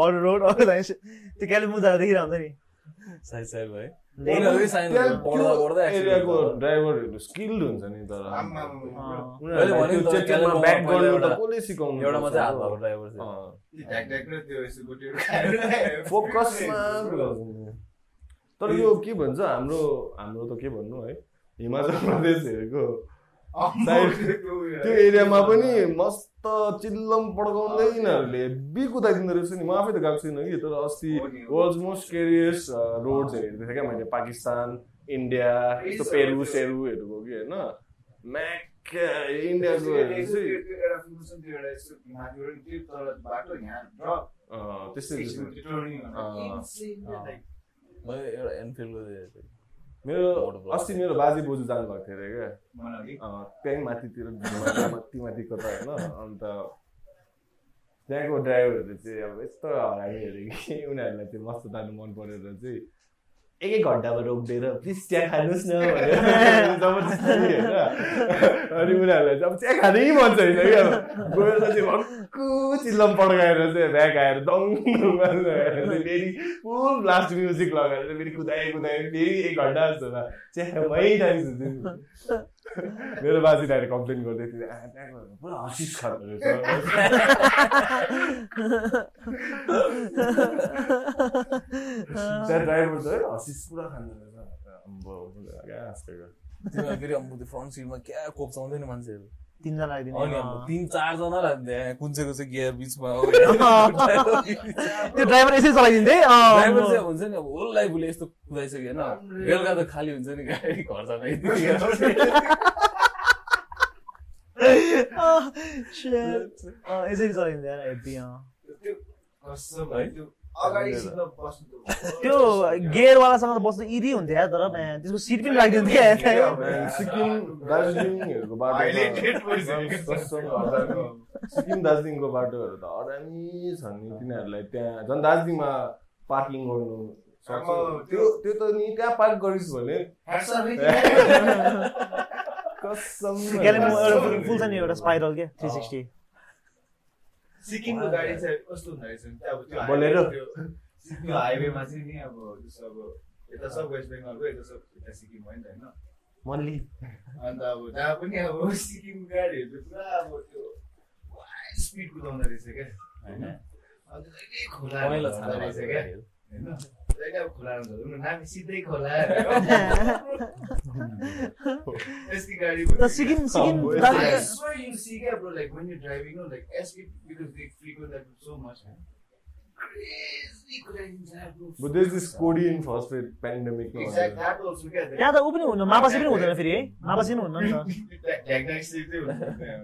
Speaker 1: border road organisation त्यो कालिम्पोङ जाँदा देखिरहन्छ नि
Speaker 3: साइड साइड भयो
Speaker 1: ले-
Speaker 3: उनीहरूकै साइड पढ्दा पढ्दा एक्सिडेन्ट
Speaker 2: एरियाको
Speaker 3: भयो।
Speaker 2: ड्राइभरहरू स्किल्ड हुन्छ नि तर
Speaker 4: आम्मा,
Speaker 1: अँ।
Speaker 2: उनीहरूलाई
Speaker 3: मैले भनेको
Speaker 2: त्यो
Speaker 3: त
Speaker 2: चेकमा
Speaker 3: कालिम्पोङमा
Speaker 2: back
Speaker 3: पहिला
Speaker 2: गर्नु त
Speaker 3: एउटा-
Speaker 2: कसले सिकाउनु
Speaker 3: एउटा
Speaker 2: पर्छ
Speaker 3: मात्रै हात
Speaker 2: अब?
Speaker 3: भएको ड्राइभर छ
Speaker 2: अँ।
Speaker 4: त्यो ढ्याक ढ्याक र त्यो यसो गोटेहरू खाएर
Speaker 2: फोकसमा तर यो के भन्छ हाम्रो हाम्रो त के भन्नु है हिमाचल प्रदेशहरूको
Speaker 4: अम्मा,
Speaker 2: साइड-
Speaker 4: त्यो उयो।
Speaker 2: त्यो एरियामा पनि मस्त चिल्लम पड्काउँदै यिनीहरूले हेब्बी कुदाइदिँदो रहेछ नि म आफै त गएको छुइनँ कि तर अस्ति वर्ल्ड मोस्ट केरियस रोड्स हेरेको थिएँ क्या मैले पाकिस्तान इन्डिया यस्तो पेरु सेरुहरूको कि होइन म्याक्या
Speaker 4: यसो
Speaker 2: इन्डियाको
Speaker 4: एउटा-
Speaker 2: हेरेर
Speaker 4: यसो
Speaker 2: चाहिँ,
Speaker 4: एउटा- एउटा function थियो, एउटा यसो माथिबाट नि त्यो तल बाटो यहाँ drop,
Speaker 2: अँ, त्यस्तै
Speaker 4: एकछिन
Speaker 2: त्यस्तै।
Speaker 4: त्यो turning हुन्छ।
Speaker 2: अँ।
Speaker 4: Insane, like,
Speaker 3: मैले एउटा एनफिल्डको चाहिँ
Speaker 2: मेरो अस्ति मेरो बाजे बोजू जानुभएको थियो अरे क्या
Speaker 4: मलाई लाग्यो,
Speaker 2: अँ, त्यहीँ माथितिर माथि माथि कता होइन अन्त त्यहाँको ड्राइभरहरूले चाहिँ अब यस्तो हरामी अरे कि उनीहरूलाई चाहिँ मस्त तान्नु मन परेर चाहिँ एक एक घन्टामा रोकिदिएर प्लिज चिया खानुहोस् न भनेर जबरजस्ती होइन अनि उनीहरूलाई चाहिँ अब चिया खानै मन छैन कि अब गएर चाहिँ भक्कु चिल्लम पड्काएर चाहिँ ब्याग आएर दङ गरेर आएर चाहिँ फेरि फुल ब्लास्ट म्युजिक लगाएर चाहिँ फेरि कुदाए कुदाए फेरि एक घन्टा जस्तोमा चिया खाएमै जान्छ मेरो बाजे आएर कम्प्लेन गर्दै थियो "आ, त्यहाँको पुरा हसिस खाँदो रहेछ त्यहाँ ड्राइभर चाहिँ हसिस पुरा खाँदो रहेछ अम्बो, क्या हाँस्दै गयो।
Speaker 3: तिमीलाई फेरि अब त्यो फ्रन्ट सिटमा क्या कोप्चाउँदैन मान्छेहरू
Speaker 1: तिनजना
Speaker 3: अनि अब
Speaker 1: आइदिने
Speaker 3: तिन चारजना र त्यहाँ कुन चाहिँको चाहिँ गियर बिचमा हो
Speaker 1: त्यो ड्राइभर यसरी चलाइदिन्थे है? अँ,
Speaker 3: ड्राइभर
Speaker 1: अँ।
Speaker 3: चाहिँ अब हुन्छ नि अब होल लाइफ उसले यस्तो कुदाइसक्यो होइन बेलुका त खाली हुन्छ नि गाडी घर जाँदा यतिखेर।
Speaker 1: अँ, shit। अँ, यसरी चलाइदिन्थे यार, हेब्बी, अँ।
Speaker 4: त्यो कसम है, त्यो अगाडि सिटमा बस्नु
Speaker 1: त्यो गेयरवालासँग त बस्नु इजी हुन्थ्यो यार तर म्या, त्यसको सिट पनि राखिदिन्थे यार, त्यहाँ।
Speaker 2: ए, सिक्किम दार्जिलिङहरूको
Speaker 4: Highlighted भइसक्यो।
Speaker 2: बाटो सस्तो सिक्किम दार्जिलिङको बाटोहरू त हरामी छन् नि तिनीहरूलाई त्यहाँ झन् दार्जिलिङमा पार्किङ गर्नु सक्छ
Speaker 4: आमा,
Speaker 2: त्यो त्यो त नि त्यहाँ पार्क गरिस् भने कसम
Speaker 1: कालिम्पोङमा एउटा फुल- फुल छ नि एउटा स्पाइरल के थ्री सिक्सटी
Speaker 4: सिक्किमको गाडी चाहिँ कस्तो हुँदो रहेछ भने चाहिँ अब त्यो
Speaker 2: बोलेरो।
Speaker 4: हाइवे- त्यो सिक्किम हाइवेमा चाहिँ नि अब जस्तो अब यता सब वेस्ट बेङ्गलको यता सब यता सिक्किम भयो नि त होइन
Speaker 1: मन्थली
Speaker 4: अन्त अब जहाँ पनि अब सिक्किम गाडीहरूले पुरा अब त्यो वाइड स्पिड कुदाउँदो रहेछ क्या होइन अन्त जहिले खोला
Speaker 3: रमाइलो छ
Speaker 4: झर्दो रहेछ क्या
Speaker 3: गाडीहरू।
Speaker 4: होइन जहिले अब खोला झर्नु नामी सिधै खोला यस्तै गाडी
Speaker 1: त सिक्किम सिक्किम
Speaker 2: अम्बो, यस्तो
Speaker 4: I
Speaker 1: Darjeeling-
Speaker 4: swear you see क्या bro, like when you're driving, you know, like as we- because they frequent that so much, man. Crazy crazy, bro.
Speaker 2: But there's this Korean first aid pandemic. now.
Speaker 4: Exact, that also, क्या they-
Speaker 1: त्यहाँ त ऊ पनि हुन्न मापासी पनि हुँदैन फेरि है मापासी पनि हुन्न नि त
Speaker 4: That- that guy said they were-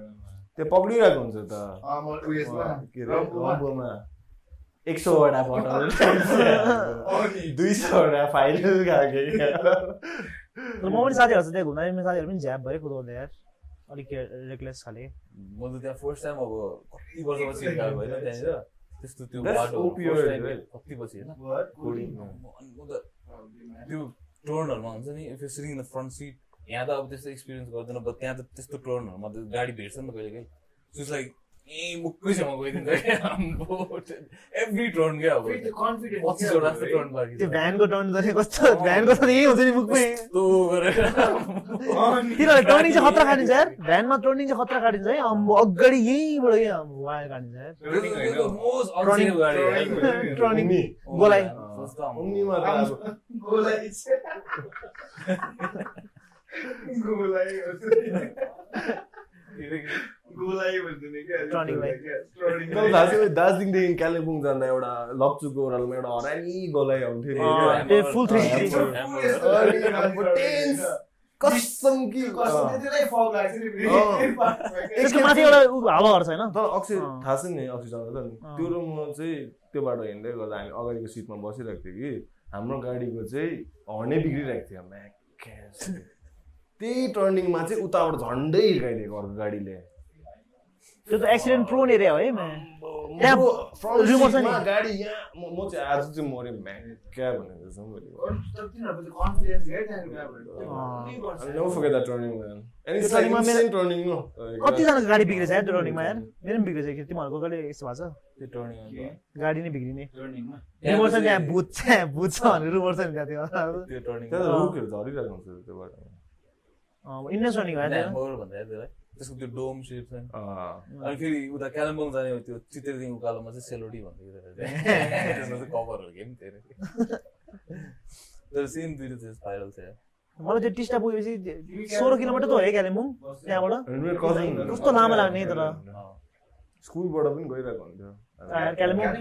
Speaker 2: त्यो पक्रिरहेको हुन्छ त
Speaker 4: Ah, म- उयसमा,
Speaker 2: के अरे,
Speaker 4: रम्फूमा।
Speaker 2: रम्फूमा एक सौवटा बटल
Speaker 4: अँ, नि।
Speaker 2: दुई सौवटा फाइनल गएको
Speaker 1: तर म पनि साथीहरू त्यहाँ घुम्दा मेरो साथीहरू पनि झ्याप भएर कुदाउँदै यार अलिक रेक्लेस खाले
Speaker 3: म त त्यहाँ फर्स्ट टाइम अब कति वर्षपछि गएको होइन त्यहाँनिर त्यस्तो त्यो
Speaker 2: That's OPR,
Speaker 3: बाटो
Speaker 2: right?
Speaker 3: कति पछि होइन
Speaker 4: What?
Speaker 2: Coding,
Speaker 4: Coding.
Speaker 2: no.
Speaker 3: म- म त
Speaker 4: Probably, man.
Speaker 3: त्यो टर्नहरूमा हुन्छ नि if sitting in the front seat यहाँ त अब त्यस्तो एक्सपिरियन्स गर्दैन बट त्यहाँ त त्यस्तो टर्नहरूमा त गाडी भेट्छ नि त कहिले काहीँ सो इट्स लाइक ए मुक्कैसम्म गइदिन्छ क्या आम्बो एभ्री टर्न क्या अब
Speaker 4: फेरि त्यो confidence
Speaker 3: पच्चिसवटा
Speaker 4: क्या
Speaker 3: जस्तो
Speaker 4: अब,
Speaker 3: टर्न बाँकी
Speaker 1: त्यो
Speaker 3: छ
Speaker 1: भ्यानको टर्न जस्तै कस्तो भ्यानको त यही हुन्छ नि मुखमै
Speaker 3: यस्तो गरेर आम्बो।
Speaker 4: है? अँ, नि।
Speaker 1: तिनीहरू टर्निङ चाहिँ खतरा काटिन्छ यार भ्यानमा टर्निङ चाहिँ खतरा काटिन्छ है अम्बो अगाडि यहीँबाट यही अम्बो वायर काटिन्छ यार
Speaker 3: This is the most unsafe गाडी है।
Speaker 4: Coding होइन, Turning होइन।
Speaker 1: टर्निङ
Speaker 2: नि
Speaker 1: गोलाइ
Speaker 3: Oh, जस्तो आम्बो।
Speaker 2: उनीमा त अब
Speaker 4: गोलाई चाहिँ- गोलाई हो त्यो। गोलाई भनिदिने क्या
Speaker 1: टर्निङलाई।
Speaker 2: तल थाहा छ यो दार्जिलिङदेखि कालिम्पोङ जाँदा एउटा लप्चुको ओह्रालोमा एउटा हरानी गोलाइ आउँथ्यो
Speaker 1: अँ,
Speaker 2: नि क्या।
Speaker 1: त्यो full
Speaker 2: 360 अनि अब टेन्स, कसम कि अँ।
Speaker 1: त्यसको माथि एउटा ऊ हावाहरू छ होइन
Speaker 2: तर अक्षय
Speaker 1: अँ।
Speaker 2: थाहा छ नि अक्षय सर त
Speaker 1: अँ।
Speaker 2: त्यो र म चाहिँ त्यो बाटो हिँड्दै गर्दा हामी अगाडिको सिटमा बसिरहेको थियो कि हाम्रो गाडीको चाहिँ हर्नै बिग्रिरहेको थियो म्याक्यास। त्यही टर्निङमा चाहिँ उताबाट झन्डै हिर्काइदिएको अर्को गाडीले
Speaker 1: त्यो त एक्सिडेन्ट प्रोन एरिया हो है म्या। त्यहाँ
Speaker 2: मेरो front
Speaker 1: rumor छ नि।
Speaker 2: seatमा गाडी यहाँ म म चाहिँ आज चाहिँ मरेँ म्याक्या भनेर चाहिँ मैले no forget that turning man and it's
Speaker 1: त्यो
Speaker 2: लाइक
Speaker 1: टर्निङमा मेरो-
Speaker 2: इन्सेन टर्निङ हो
Speaker 1: कतिजनाको गाडी बिग्रेछ यार त्यो टर्निङमा यार मेरो पनि बिग्रेछ कि तिमीहरूको कहिले यस्तो भएको छ
Speaker 3: त्यो turning हुन्छ।
Speaker 1: गाडी नै बिग्रिने
Speaker 3: त्यहाँ
Speaker 1: रुमर्छ नि त्यहाँ
Speaker 3: चाहिँ-
Speaker 1: भुत छ त्यहाँ भुत छ भनेर रुमर्छ नि त्यहाँ त्यो
Speaker 3: त्यो turning
Speaker 2: त्यहाँ त
Speaker 3: हुन्छ।
Speaker 1: अँ।
Speaker 2: रुखहरू झरिरहेको हुन्छ त्यो बाटोमा
Speaker 1: अँ, इन्डियन टर्निङ भयो
Speaker 3: त्यहाँ
Speaker 1: त्यहाँ
Speaker 3: हाम्रो भन्दा त्यसलाई त्यसको त्यो डोम सेप छ नि।
Speaker 2: अँ।
Speaker 3: अनि फेरि उता कालिम्पोङ जाने हो त्यो चित्रेदेखि उकालोमा चाहिँ सेलरोटी भन्थ्यो कि त्यसलाई। त्यसमा चाहिँ कभरहरू के पनि थिएन तर सेम दुइटा चाहिँ भाइरल छ
Speaker 1: मलाई त्यो टिस्टा पुगेपछि सोह्र किलोमिटर त हो है कालिम्पोङ त्यहाँबाट
Speaker 2: अनि मेरो cousin-
Speaker 1: कस्तो लामो लाग्ने तर।
Speaker 3: अँ।
Speaker 2: स्कुलबाट पनि गइरहेको हुन्थ्यो
Speaker 1: यार, कालिम्पोङ-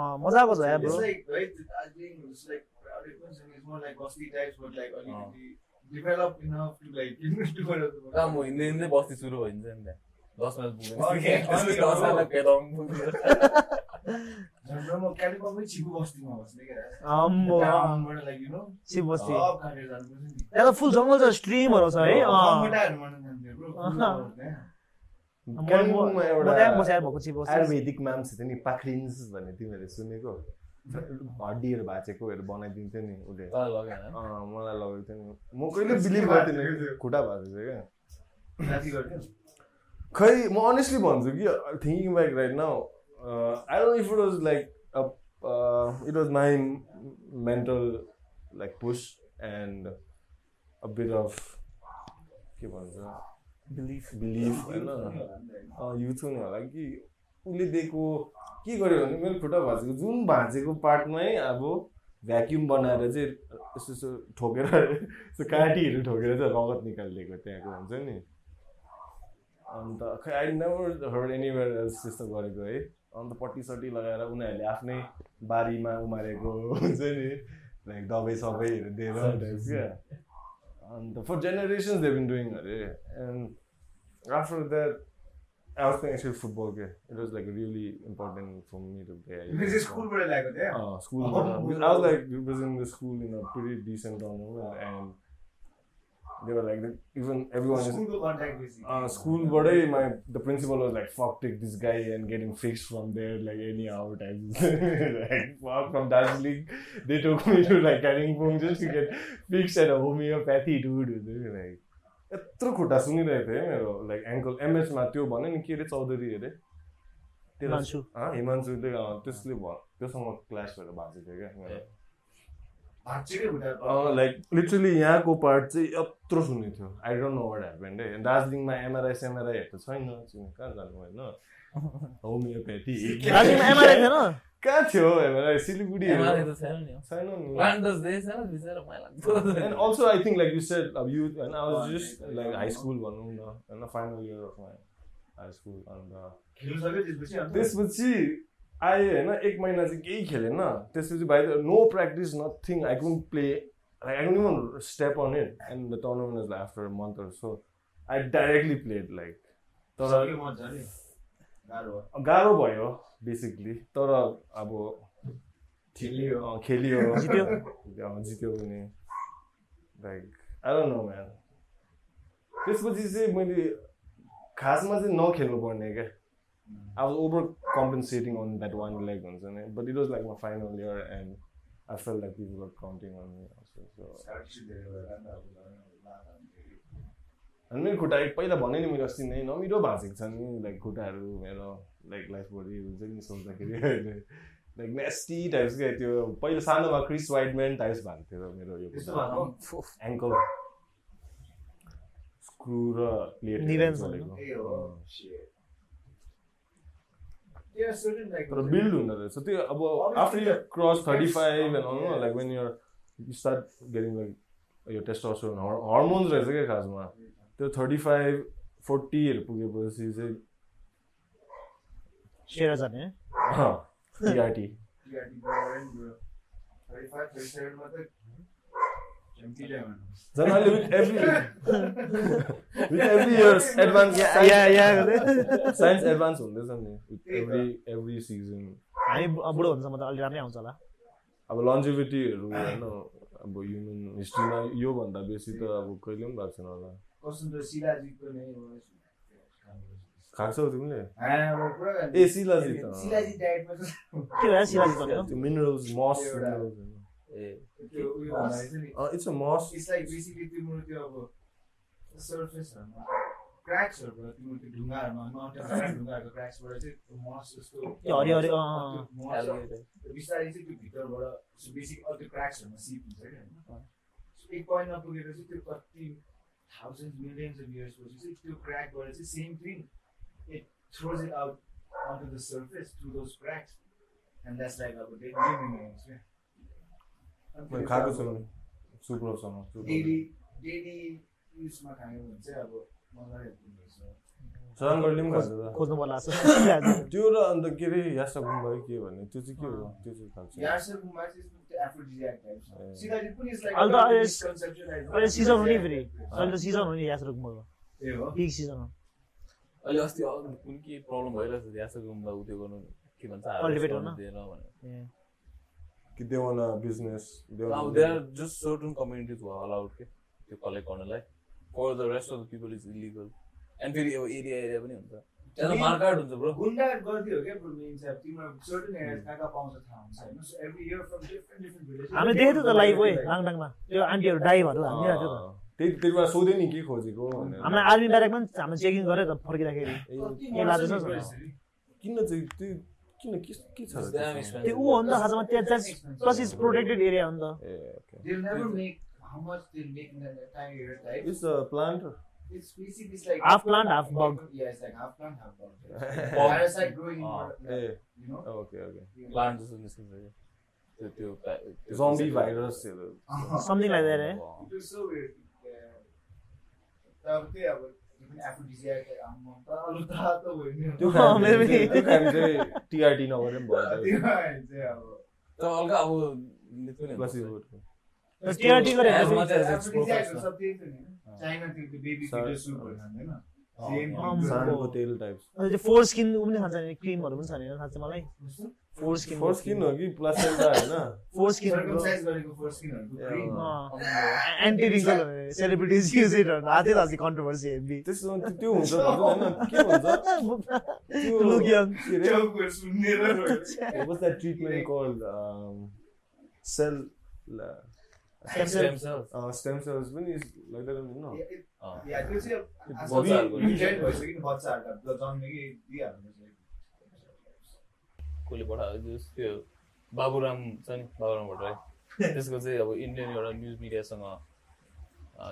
Speaker 1: अँ, मजा आएको छ यार ब्रो
Speaker 2: Oh.
Speaker 3: र म हिँड्दै हिँड्दै बस्ती सुरु भइन्छ नि त्यहाँ दस माइल
Speaker 4: Okay, okay,
Speaker 3: पुग्यो दस माइल पेदङ पुग्यो
Speaker 4: कालिम्पोङमै छिपु बस्तीमा बस्ने क्या
Speaker 1: अम्बो
Speaker 4: गाउँबाट like you know
Speaker 1: Shiva Basti
Speaker 4: अब काटेर जानुपर्छ नि
Speaker 1: Oh. त्यहाँ त फुल जङ्गल छ स्ट्रिमहरू छ है अँ।
Speaker 4: मोटाहरू मार्न जान्थ्यो ब्रो
Speaker 1: अहँ। म-
Speaker 2: कालिम्पोङमा
Speaker 1: म- म
Speaker 2: एउटा
Speaker 1: त्यहाँ बसेर भएको छु बसेर
Speaker 2: आयुर्वेदिक नाम छ नि पाखरिन्स भन्ने तिमीहरूले सुनेको हड्डीहरू भाँचेकोहरू बनाइदिन्थ्यो नि उसले
Speaker 3: तल लग्यो होइन?
Speaker 2: अँ, मलाई लगेको थियो नि म कहिले बिलिभ गर्थेन खुट्टा भएको थियो क्या
Speaker 4: नाति गर्थ्यो
Speaker 2: खै म अनेस्टली भन्छु कि uh, thinking back right now I don't if it was like it was my mental like push and a bit of के भन्छ
Speaker 1: बिलिभ
Speaker 2: बिलिभ होइन युथ हुनु होला कि उसले दिएको के गर्यो भने मेरो खुट्टा भाँचेको जुन भाँचेको पार्टमै अब भ्याक्युम बनाएर चाहिँ यस्तो यस्तो ठोकेर यस्तो काँटीहरू ठोकेर चाहिँ रगत निकालिदिएको त्यहाँको हुन्छ नि अन्त खै I never heard anywhere else त्यस्तो गरेको है अन्त पट्टिसट्टि लगाएर उनीहरूले आफ्नै बारीमा उमारेको हुन्छ नि लाइक दबाई सबैहरू दिएर types क्या अन्त for generations they been doing अरे and After that, I was playing actually football. Yeah. It was like really important for me to play.
Speaker 4: तिमीले चाहिँ स्कुलबाट ल्याएको थियो
Speaker 2: Uh, school.
Speaker 4: Oh.
Speaker 2: because I was like representing the school in a pretty decent tournament, and they were like, even everyone is.
Speaker 4: स्कुलको contact बेसी
Speaker 2: Uh, school birthday, my the principal was like, "Fuck, take this guy and get him fixed from there, like anyhow." Type. like, fuck, from Darjeeling, they took me to like Kalimpong just to get fixed at a homeopathy dude. They were like, यत्रो खुट्टा सुनिरहेको थिएँ है मेरो like ankle एमएचमा त्यो भन्यो नि के अरे चौधरी अरे
Speaker 1: हिमांशु।
Speaker 2: हिमान्सुले त्यसले भयो त्योसँग क्लास भएर भएको थियो क्या मेरो।
Speaker 4: भाँच्चीकै खुट्टा
Speaker 2: Uh, लाइक लिटरली Oh, यहाँको पार्ट चाहिँ यत्रो सुनेको थियो I don't know what happened है दार्जिलिङमा एमआरआई सेमआरआईहरू त छैन चिने कहाँ जानु होइन होमियोप्याथी
Speaker 1: दार्जिलिङमा एमआरआई थिएन
Speaker 2: कहाँ थियो एमआरआई सिलगढी
Speaker 3: एमआरआई त छैन नि हो।
Speaker 2: छैन नि
Speaker 3: वान डोज दिएछ, बिचरा मलाई लाग्दो।
Speaker 2: And also I think like you said अब यु होइन आई वाज
Speaker 4: अँ,
Speaker 2: जस्ट
Speaker 4: त्यही त।
Speaker 2: लाइक हाई स्कुल भनौँ न होइन final year of my high school अन्त
Speaker 4: खेल्नु सक्यो त्यसपछि अन्त
Speaker 2: त्यसपछि आएँ होइन एक महिना चाहिँ केही खेलेन त्यसपछि बाहिर no practice nothing I can play like I can even step on it and the tournament is after month or so I directly played like तर
Speaker 4: सक्यो मजाले गाह्रो भयो।
Speaker 2: गाह्रो भयो बेसिकली तर अब
Speaker 4: खेलियो
Speaker 2: अँ, खेलियो
Speaker 1: जित्यो?
Speaker 2: अँ, जित्यो भने like I don't know man त्यसपछि चाहिँ मैले खासमा चाहिँ नखेल्नु पर्ने क्या I was over compensating on that one leg, हुन्छ नि? but it was like my final year, and I felt like people were counting on me also. So,
Speaker 4: स्कालरसिप दिएर गएर नि त अब झन् ला त हामीले।
Speaker 2: अनि मेरो खुट्टा एक- पहिला भने नि मैले अस्ति नै नमिठो भाँचेको छ नि लाइक खुट्टाहरू मेरो लाइक लाइफ बडी हुन्छ नि सोच्दाखेरि लाइक नेस्टी टाइप्स क्या त्यो पहिला सानोमा क्रिस वाइडम्यान टाइप्स भएको थियो मेरो यो
Speaker 4: त्यस्तो भएको
Speaker 2: एङ्कल स्क्रु र प्लेट
Speaker 1: Defense
Speaker 4: ए हो shit. They are certain like-
Speaker 2: तर बिल्ड हुँदो रहेछ त्यो अब after you cross thirty five and all like when your you start getting like यो टेस्टोस्टेरोन हर्मोन्स रहेछ क्या खासमा त्यो थर्टी फाइभ फोर्टीहरू पुगेपछि
Speaker 1: सेरा जाने है?
Speaker 2: चाहिँ टिआरटी
Speaker 4: TRT गएर नि bro. 35, 37 मा त चम्की diamond हो।
Speaker 2: झन् अहिले with every with every years advance
Speaker 1: या- या- या गर्दै।
Speaker 2: साइन्स एडभान्स हुँदैछ नि विथ
Speaker 4: त्यही त।
Speaker 2: एभ्री एभ्री सिजन
Speaker 1: हामी बु- बुढो हुन्छौँ त अलि राम्रै आउँछ होला
Speaker 2: अब लन्जिभिटीहरू होइन अब ह्युमन हिस्ट्रीमा योभन्दा बेसी त अब कहिले पनि भएको छैन होला
Speaker 4: कस्तो त शिलाजीतको नै हो।
Speaker 2: खाएको छौ तिमीले
Speaker 4: हाँ, अब पुरा खान्छ।
Speaker 2: ए, शिलाजीत, अँ।
Speaker 4: शिलाजीत diet मा चाहिँ
Speaker 1: के भयो शिवाजी भनेको
Speaker 2: त्यो मिनरल्स मस
Speaker 4: एउटा-
Speaker 3: ए,
Speaker 4: त्यो उयो हुँदो रहेछ नि।
Speaker 2: इट्स अ मस
Speaker 4: It's like basically तिम्रो त्यो अब सर्फेसहरूमा क्र्याक्सहरूबाट तिम्रो त्यो ढुङ्गाहरूमा माउन्टेन ढुङ्गाहरूको क्र्याक्सबाट चाहिँ त्यो मस जस्तो
Speaker 1: ए, हरियो, हरियो, अँ, अँ, अँ।
Speaker 4: त्यो मस
Speaker 3: alligator।
Speaker 4: त्यो बिस्तारै चाहिँ त्यो भित्रबाट बेसिक अरू त्यो क्र्याक्सहरूमा सिप हुन्छ क्या होइन So एक पोइन्टमा पुगेर चाहिँ त्यो कति थाउजन्ड मिलियन्स अफ इयर्स पछि चाहिँ त्यो क्र्याकबाट चाहिँ same thing it throws it out on the surface through those cracks and that's like अब डेली मिलियन्स क्या अनि
Speaker 2: मैले
Speaker 4: त्यो
Speaker 2: खाएको
Speaker 4: चाहिँ
Speaker 2: छु नि
Speaker 4: अब
Speaker 2: सुप्रोसँग
Speaker 4: डेली डेली युजमा खायो भने चाहिँ अब मलाई
Speaker 2: सराङगढीले पनि खान्छ त।
Speaker 1: खोज्नु पर्ला जस्तो शिवाजी।
Speaker 2: त्यो र अन्त के अरे यासा गुम्बा के भन्ने त्यो चाहिँ के हो त्यो चाहिँ खाएको छु
Speaker 4: यार्सर गुम्बा चाहिँ यसमा त्यो एफ्रोडिजियाक टाइप छ
Speaker 2: ए।
Speaker 4: सिधाजी पनि यसलाई
Speaker 1: अहिले त अहिले-
Speaker 4: misconceptualized
Speaker 1: अहिले सिजन हो नि फेरि
Speaker 4: टाइप
Speaker 1: अहिले त सिजन हो नि यास रुखमुखको
Speaker 4: छ। ए हो
Speaker 1: पिक सिजन हो
Speaker 3: अहिले अस्ति अरू कुन के प्रब्लम भइरहेको छ यासको गुम्बा उ त्यो गर्नु के भन्छ
Speaker 1: Cultivate
Speaker 3: harvest
Speaker 1: गर्न?
Speaker 3: गर्नु दिएन भनेर
Speaker 1: ए,
Speaker 2: कि देवाना बिजनेस
Speaker 3: अब there are just eh. Certain communities were allowed के त्यो कलेक्ट गर्नलाई for the rest of the people is illegal and फेरि अब एरिया एरिया पनि हुन्छ त्यहाँ त मार्काट हुन्छ ब्रो
Speaker 4: गुन्डा गरिदियो क्या ब्रो मेन चाहिँ अब तिम्रो सर्टेन एरियाज कहाँ कहाँ पाउँछ थाहा हुन्छ होइन so every year from different different village
Speaker 1: हामीले देखेको थियौँ त लाइभ ओए लाङडाङमा त्यो आन्टीहरू डाइभहरू हानिरहेको थियो
Speaker 3: Ah.
Speaker 1: त
Speaker 2: त्यही त्यति बेला सोधेँ नि के खोजेको भनेर।
Speaker 1: हामीलाई आर्मी ब्यारेकमा पनि हामीले चेकिङ गरेर त फर्किँदाखेरि
Speaker 4: ए
Speaker 1: लाग्दैछ नि।
Speaker 2: किन चाहिँ त्यो किन के के छ र
Speaker 3: It's damn
Speaker 2: त्यसमा?
Speaker 3: expensive.
Speaker 1: त्यो ऊ हो नि त खासमा त्यहाँ त्यहाँ प्लस इज प्रोटेक्टेड एरिया हो नि त
Speaker 2: ए okay
Speaker 4: They'll never make how much they'll make in that entire year, right?
Speaker 2: It's a plant
Speaker 4: It's basically it's like
Speaker 1: Half plant, half bug.
Speaker 4: Yeah, it's like half plant, half bug. Parasite growing
Speaker 3: Ah,
Speaker 4: in
Speaker 2: a
Speaker 4: water, you know.
Speaker 2: Okay okay
Speaker 3: plant जस्तो निस्किन्छ कि। त्यो त्यो पा- त्यो-
Speaker 2: zombie भाइरसहरू
Speaker 1: something like that है
Speaker 3: अँ।
Speaker 4: It was so weird. Yeah. तब त्यही अब even aphrodisiac like आम्मा, तर अरू थाहा त भयो नि।
Speaker 2: त्यो
Speaker 1: अँ,
Speaker 2: खाने
Speaker 1: मेरो पनि।
Speaker 2: चाहिँ- त्यो खाने चाहिँ टिआरटी नगरे पनि भयो
Speaker 4: त्यो भएर चाहिँ अब
Speaker 3: तर हल्का अब लिट पनि हुन्छ।
Speaker 2: प्लसिबो
Speaker 1: टिआरटी गरे
Speaker 3: As much as it's
Speaker 4: Aphrodisiac
Speaker 3: professional.
Speaker 4: सब त्यही त नि, होइन? चाइनातिर त्यो baby
Speaker 2: Sir. Oh,
Speaker 4: fetus soup हरू खाँदैन?
Speaker 3: अँ,
Speaker 4: Same
Speaker 3: अँ,
Speaker 1: Um,
Speaker 4: thing.
Speaker 2: सानोको तेल टाइप्स
Speaker 1: त्यो फोर स्किन ऊ पनि खान्छ नि क्रिमहरू पनि छ नि खान्छ मलाई फोर स्किन
Speaker 2: फोर स्किन हो कि प्लासेन्टा होइन
Speaker 1: फोर स्किन
Speaker 4: Circumcise गरेको foreskinहरूको
Speaker 2: Yeah.
Speaker 4: cream.
Speaker 1: Anti wrinkle celebrities use it आते आज कन्ट्रोभर्सी हेभी
Speaker 2: त्यसो त्यो- त्यो हुन्छ भन्छ होइन के भन्छ त्यो
Speaker 1: Look young.
Speaker 2: के अरे?
Speaker 4: टाउकोहरू सुन्नेर रोयो।
Speaker 2: What's that treatment called? Um, cell la-
Speaker 3: Stem cells. Ah.
Speaker 2: uh, stem cells पनि is like that, no?
Speaker 4: Yeah, it-
Speaker 3: अँ।
Speaker 4: yeah, त्यो चाहिँ अब
Speaker 3: त्यो
Speaker 4: आज तो
Speaker 3: बच्चाहरूको
Speaker 4: पनि mutant भइसक्यो नि बच्चाहरूलाई, अब जन्मेकै दिइहाल्नु चाहिँ।
Speaker 3: कसले पठाएको थियो? त्यो बाबुराम छ नि बाबुराम भट्टराई त्यसको चाहिँ अब इन्डियन एउटा न्युज मिडियासँग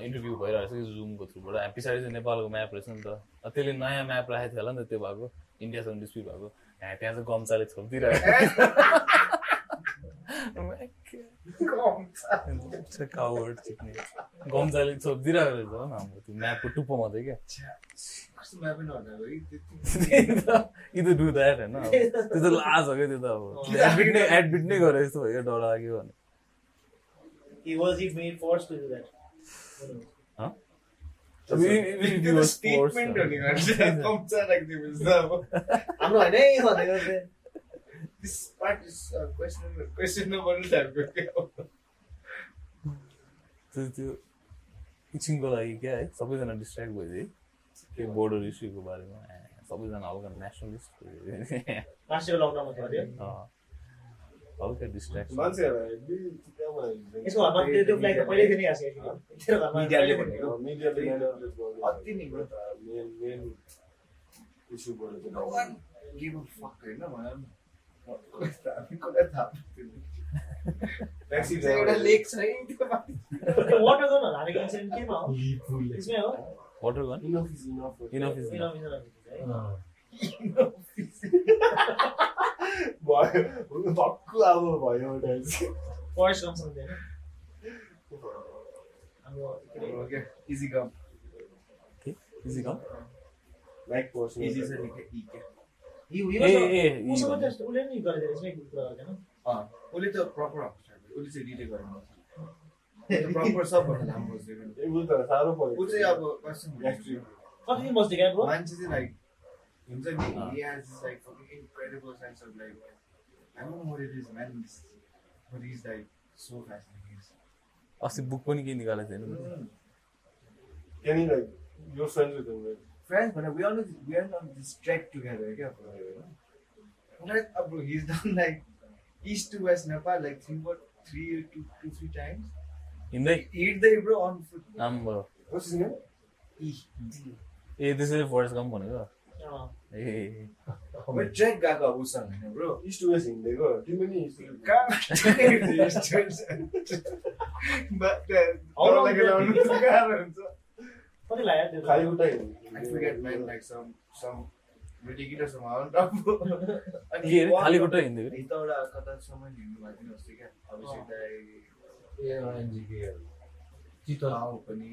Speaker 3: इन्टरभ्यू भइरहेको छ जुमको थ्रुबाट हामी पछाडि चाहिँ नेपालको म्याप रहेछ नि त अब त्यसले नयाँ म्याप राखेको थियो होला नि त त्यो भएको इन्डियासँग डिस्प्युट भएको हामी त्यहाँ चाहिँ गम्चाले छोपिदिरहेको कावड चिक्ने गम्चाले छोपिदिरहेको रहेछ हो हाम्रो त्यो म्यापको टुप्पो मात्रै क्या
Speaker 4: कस्तो म्याप पनि हटाएको है, त्यति-
Speaker 3: यी त डु द्याट होइन अब। त्यो त लाज हो क्या त्यो त अब एडमिट नै एडमिट नै गरेको जस्तो भयो क्या डर लाग्यो भने Huh? अब यी- यी- यी-
Speaker 4: त्यो
Speaker 3: यी
Speaker 4: त
Speaker 3: was forced,
Speaker 4: तो statement हो नि,
Speaker 3: होइन।
Speaker 4: होइन? कम्चा राखिदिएपछि त अब this part is, uh, questionable- questionable टाइपको क्या हो।
Speaker 3: त्यो त्यो एकछिनको लागि क्या है सबैजना डिस्ट्र्याक्ट भइदिए त्यो बोर्डर इस्युको बारेमा ए, सबैजना हल्का नेसनलिस्ट भइदिए। अँ। हल्का डिस्ट्र्याक्ट
Speaker 2: मान्छेहरूलाई एकदम त्यहाँ भयो।
Speaker 4: मिडियाले भनेको
Speaker 2: मिडियाले manipulate गर्यो।
Speaker 4: अति नै हो।
Speaker 2: एउटा Uh, main- main issue भयो त्यो
Speaker 4: No one gave a fuck, होइन, भनौँ न। हामी कसलाई थाहा पाउँथ्यौँ नि? Vaccine
Speaker 2: uh,
Speaker 4: चाहिँ एउटा लेक छ है, त्यो माथि।
Speaker 3: Water gun
Speaker 2: Enough is enough हो।
Speaker 3: इनफ इज
Speaker 2: भयो। हुनु भक्कु अब भयो एउटा चाहिँ।
Speaker 4: Okay, easy come.
Speaker 3: इजी कम
Speaker 2: Like personal-
Speaker 4: Easy छ नि, के- के-
Speaker 3: ए ए यी भन्नु।
Speaker 4: अँ, उसले त प्रपर उसले चाहिँ डिले गरेको प्रपर सबभन्दा लामो बसेको
Speaker 2: ए, बुझ्दा साह्रो पऱ्यो।
Speaker 4: ऊ चाहिँ अब कस्तो
Speaker 2: Gastric।
Speaker 4: मान्छे चाहिँ लाइक हुन्छ नि like incredible sense of like I don't know it is man but is like so fascinating
Speaker 3: अस्ति बुक पनि केही निकालेको थिएन नि।
Speaker 2: Can you like, you're friends with him, right?
Speaker 4: Friends भनेर we always we are on this trek together क्या उनीहरू अब हिज done like east to west Nepal like three or three two two three times
Speaker 3: हिँड्दै
Speaker 4: हिँड्दै ब्रो अन फुट
Speaker 3: आम्बो
Speaker 2: What's his name?
Speaker 3: ए त्यसरी forest Gump भनेको ए, ए ए।
Speaker 4: Oh, ट्रेक गएको अब उसँग होइन ब्रो
Speaker 2: East to West हिँड्दै गयो। तिमी पनि East to West।
Speaker 4: uh, I
Speaker 2: खाली खुट्टा हिँड्ने।
Speaker 4: forget man like some some ridiculous amount of and
Speaker 3: के अरे खाली खुट्टा हिँड्दै
Speaker 4: यता एउटा कतासम्म हिँड्नु भएको थियो अस्ति क्या अभिषेक दाई चितवन आऊ पनि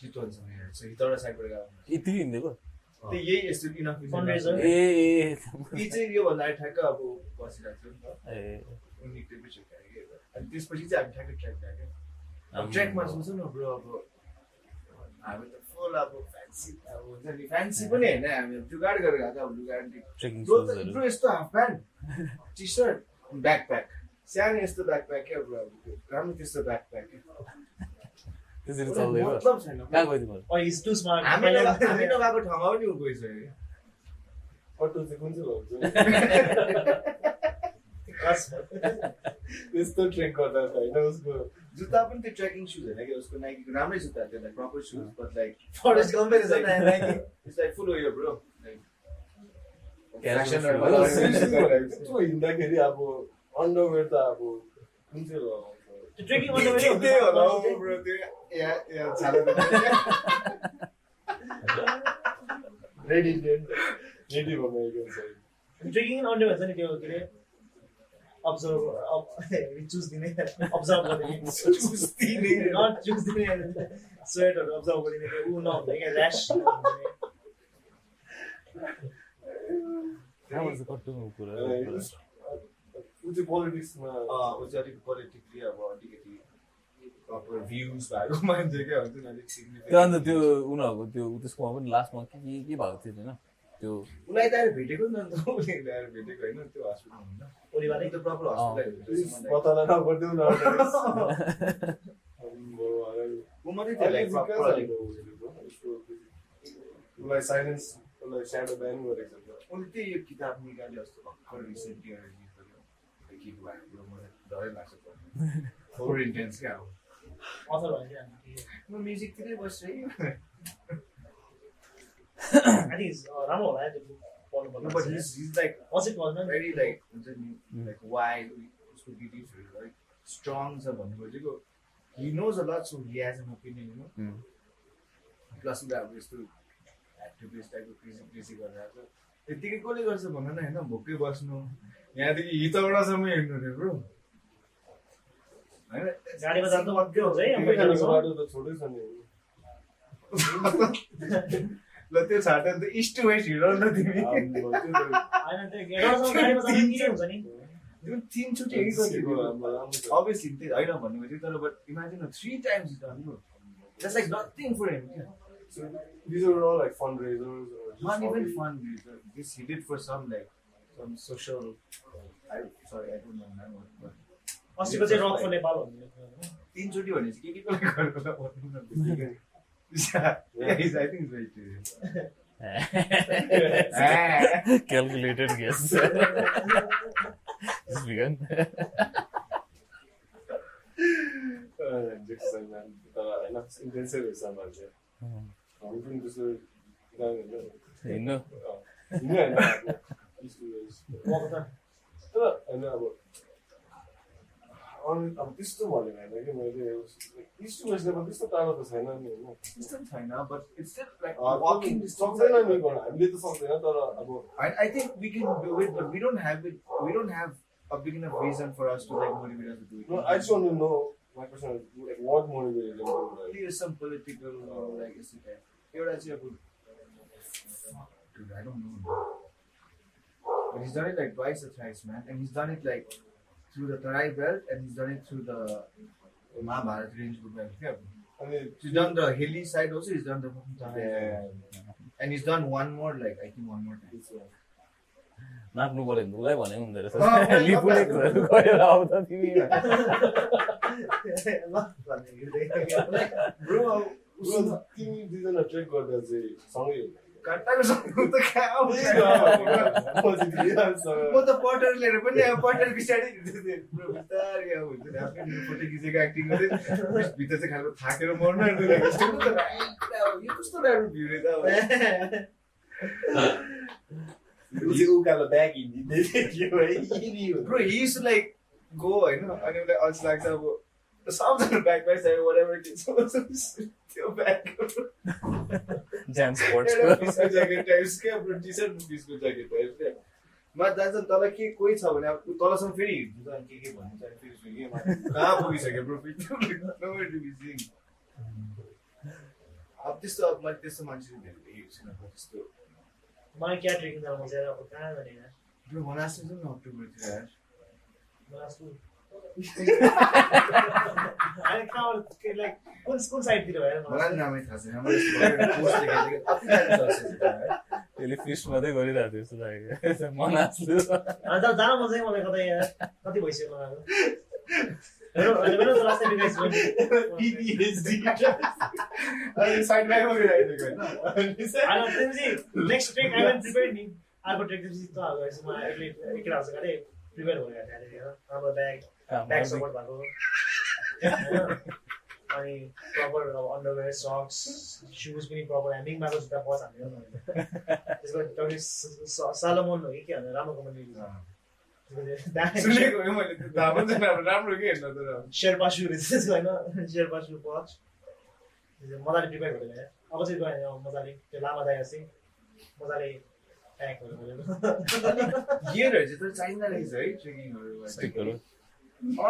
Speaker 4: चितवनसँग हिँड्छ यताबाट साइडबाट गएको
Speaker 3: यति हिँड्दै
Speaker 4: त्यो यही यस्तो इनफ
Speaker 3: ए
Speaker 4: यी
Speaker 3: ए
Speaker 4: चाहिँ योभन्दा ठ्याक्क अब बसिरहेको थियो नि त
Speaker 3: ए, ए
Speaker 4: निक्लिएपछि हुँदाखेरि अनि त्यसपछि चाहिँ हामी ठ्याक्कै ट्र्याक गएको
Speaker 3: आम्म।
Speaker 4: अब ट्र्याकमा सुन्छ न ब्रो अब हामी त फुल अब फ्यान्सी अब हुन्छ नि फ्यान्सी पनि होइन हामी अब जुगाड गरेर गएको अब जुगाड
Speaker 3: ट्रेकिङ
Speaker 4: ब्रो त-
Speaker 3: सुजहरू
Speaker 4: ब्रो यस्तो half pant T shirt back pack सानो यस्तो ब्याक प्याक क्या ब्रो अब त्यो राम्रो त्यस्तो ब्याक प्याक
Speaker 3: त्यसरी चल्दै हो
Speaker 2: मतलब छैन
Speaker 3: कहाँ गयो तिमीहरू
Speaker 1: Oh, he's too smart.
Speaker 4: हामी नगएको- हामी नगएको ठाउँमा पनि ऊ गइसक्यो क्या।
Speaker 2: अटो चाहिँ कुन चाहिँ भएको यस्तो ट्रेक गर्दा त होइन उसको
Speaker 4: जुत्ता पनि त्यो ट्रेकिङ सुज होइन कि उसको नाइकीको राम्रै जुत्ता थियो like proper shoes but like
Speaker 2: Forest Gump is
Speaker 4: Like-
Speaker 2: like-
Speaker 4: like- it's like full oil, bro. Like- Fashion or
Speaker 3: Well,
Speaker 4: whatever.
Speaker 2: त्यस्तो हिँड्दाखेरि अब अन्डरवेयर त अब कुन चाहिँ लगाउँछ
Speaker 1: Drinking on the
Speaker 4: त्यो
Speaker 1: way.
Speaker 4: त्यही होला हौ, bro, त्यो- yeah, yeah, छाला-
Speaker 2: Red Indian, Native American side.
Speaker 1: Drinking under भन्छ नि त्यो के अरे अब्जर्भ चुज दिने अब्जर्भ गरिदिने चुज दिने नट चुज दिने स्वेटहरू अब्जर्भ गरिदिने त्यो ऊ नहुँदै क्या ऱ्यास
Speaker 3: कहाँबाट चाहिँ कट्टुमा कुरा
Speaker 2: ऊ चाहिँ पोलिटिक्समा
Speaker 4: अँ, ऊ चाहिँ अलिक politically अब अलिकति proper views भएको मान्छे क्या हुन्छ नि, अलिक significant।
Speaker 3: त्यो अन्त त्यो उनीहरूको त्यो त्यसकोमा पनि लास्टमा के के के भएको थियो होइन त्यो
Speaker 4: उसलाई त आएर भेटेको नि अन्त उसले त आएर भेटेको होइन त्यो हस्पिटलमा
Speaker 1: ओलीबाटै
Speaker 4: त प्रपर हस्पिटल
Speaker 2: पत्ता नगरिदेऊ न
Speaker 4: ऊ मात्रै थियो लाइक प्रपर
Speaker 2: उसलाई साइलेन्स उसलाई स्याडो ब्यान गरेको छ
Speaker 4: उसले त्यही यो किताब निकाल्यो जस्तो भर्खर रिसेन्टली एउटा रिलिज गर्यो त्यो के भएको कुरो मलाई डरै लाग्छ फोर इन्टेन्स क्या हो
Speaker 1: अथर भन्छ
Speaker 4: म म्युजिकतिरै बस्छु है
Speaker 1: आई थिङ्क राम्रो होला है त्यो पढ्नु
Speaker 4: No, but he's, he's like
Speaker 1: अझै पढ्नु
Speaker 4: very like हुन्छ नि like why उसको बिलिभहरू like strong छ भन्नु खोजेको he knows a lot so he has an opinion you know plus उसले अब यस्तो एक्टिभिस्ट टाइपको कृषि कृषि गरिरहेको छ त्यत्तिकै कसले गर्छ भन न होइन भोकै बस्नु यहाँदेखि हितौडासम्म हिँड्नु रे ब्रो होइन
Speaker 1: गाडीमा जानु अघि हुन्छ है अब
Speaker 2: त्यो
Speaker 1: गाडीमा।
Speaker 2: बाटो त छोटै छ नि
Speaker 4: ल त्यो छाटा त इस्ट टु वेस्ट हिँड न तिमी
Speaker 1: होइन,
Speaker 2: आम्बो, त्यो त
Speaker 1: त्यो गाडीमा- गाडीमा जानु के हुन्छ नि
Speaker 4: तिमी तिनचोटि हेरिसकेको
Speaker 2: आम्बो, राम्रो छ।
Speaker 4: अभियसली त्यही होइन भन्नु खोज्यो तर but imagine three times done bro That's like nothing for him. Yeah.
Speaker 2: So, these are all like fundraisers or just
Speaker 4: Not even
Speaker 2: hobby.
Speaker 4: fun. dude. This he did for some like some social. I sorry, I don't remember. But
Speaker 1: अस्तिको चाहिँ rock for Nepal भन्ने
Speaker 4: तिनचोटि भनेपछि के के कसले गरेको होला भन्नु न बित्तिकै। Yeah, he's- I think he's very serious. Ah.
Speaker 3: Calculated guess begin
Speaker 2: Uh, jokes and then, uh, होइन, intensive रहेछ मान्छे। हामी पनि त्यस्तो जाने होइन।
Speaker 3: हिँड्नु
Speaker 2: अँ, हिँड्ने होइन, अब स्टुडेन्ट्स। तर होइन, अब अरू- अब त्यस्तो भनेको होइन कि मैले इस्टुमेसले पनि त्यस्तो टाढो त छैन नि होइन
Speaker 4: System छैन, but it's still like
Speaker 2: अँ,
Speaker 4: walking distance.
Speaker 2: सक्दैन नि गर्न, हामीले त सक्दैन तर अब
Speaker 4: I, I think we can do it, but we don't have it. We don't have a big enough reason for us to like motivate us to do it.
Speaker 2: No, I just want to know my personal like what motivated them to do that.
Speaker 4: There is some political or like is it here as your dude, I don't know. But he's done it like twice or thrice, man. And he's done it like through the Tarai belt and he's done it through the Mahabharat range group belt. Yeah.
Speaker 2: I mean,
Speaker 4: He's done the hilly side also, he's done the fucking Tarai.
Speaker 2: yeah,
Speaker 4: And he's done one more, like I think one more time.
Speaker 2: it's uh,
Speaker 3: नाप्नु पऱ्यो भने उसलाई भने हुँदो रहेछ
Speaker 4: अँ, उसलाई
Speaker 3: लिपुलेक्सहरू गएर आउँदा तिमी
Speaker 4: Bro,
Speaker 2: bro, तिमी दुईजना ट्रेक गर्दा चाहिँ सँगै
Speaker 4: काट्टाको सक्नु त कहाँ आउँछ? म
Speaker 2: हिँड्ने।
Speaker 4: त पटर लिएर पनि अब पटर पछाडि हिँड्दै थिएँ। पुरा बिस्तारै अब हुन्छ नि, आफ्नै फोटो खिचेको एक्टिङ गर्दै भित्र चाहिँ खालको थाकेर मर्नु आँट्नु भएको जस्तो पो त भाइ, पुरा अब यो कस्तो राम्रो भ्यू रहेछ अब।
Speaker 2: उसले उकालो ब्याग हिँडिदिँदै थियो है, यिनी हो।
Speaker 4: Bro, he used to like go होइन अनि उसलाई अल्छी लाग्छ अब सबजना ब्याक ब्याक चाहियो whatever के छ, त्यो ब्याग
Speaker 3: ज्यान
Speaker 4: एउटा
Speaker 3: स्पोर्ट्सको
Speaker 4: पिसको ज्याकेट टाइप्स के हाम्रो टी सर्ट पिसको ज्याकेट टाइप के मा जान्छ नि तल के कोही छ भने अब तलसम्म फेरि हिँड्नु त अनि के के भन्नु चाहिँ फेरि सुने के माथि। कहाँ पुगिसक्यो ब्रो फिट अब त्यस्तो अब मैले त्यस्तो मान्छे भेटेको छैन अब त्यस्तो
Speaker 1: मलाई क्या ट्रेकिङ जानु मजा आएर अब कहाँ जाने यार?
Speaker 4: ब्रो मनास जाउँ न अक्टोबरतिर यार
Speaker 1: मलाई जस्तो- होइन, कहाँबाट के like, कुन कुन साइडतिर भएर
Speaker 4: मलाई
Speaker 1: मलाई
Speaker 4: नि नामै थाहा छैन मैले यस्तो गरेर post देखेको थिएँ। आफै जानु सक्छ नि त यार।
Speaker 3: त्यसले फिस्ट मात्रै गरिरहेको थियो जस्तो लाग्यो मनासले
Speaker 1: होइन, तर जान मन चाहिँ मलाई कतै यार, कति भइसक्यो मलाई अब। Next trek I am prepare नि अर्को ट्रेक चाहिँ जित्न हाल्दो रहेछ मलाई अहिले केटा हाल्छ अरे प्रिपेयर भएर त्यहाँनिर राम्रो ब्याग ब्याग सपोर्ट भएको होइन? अनि प्रपर अब अन्डरवेयर सक्स सुज पनि प्रपर ह्यामिङ भएको जुत्ता पच हाल्दैन त्यसको डक्टर सालोमोन हो कि के भन्दा राम्रो कम्पनी शेर्पा सु रहेछ त्यसको होइन शेर्पा सु पच मजाले प्रिपेयर गरेर ल्याएँ। अब चाहिँ गएँ अब मजाले त्यो लामा दाया चाहिँ मजाले प्याकहरू गरेर
Speaker 3: स्टिकहरू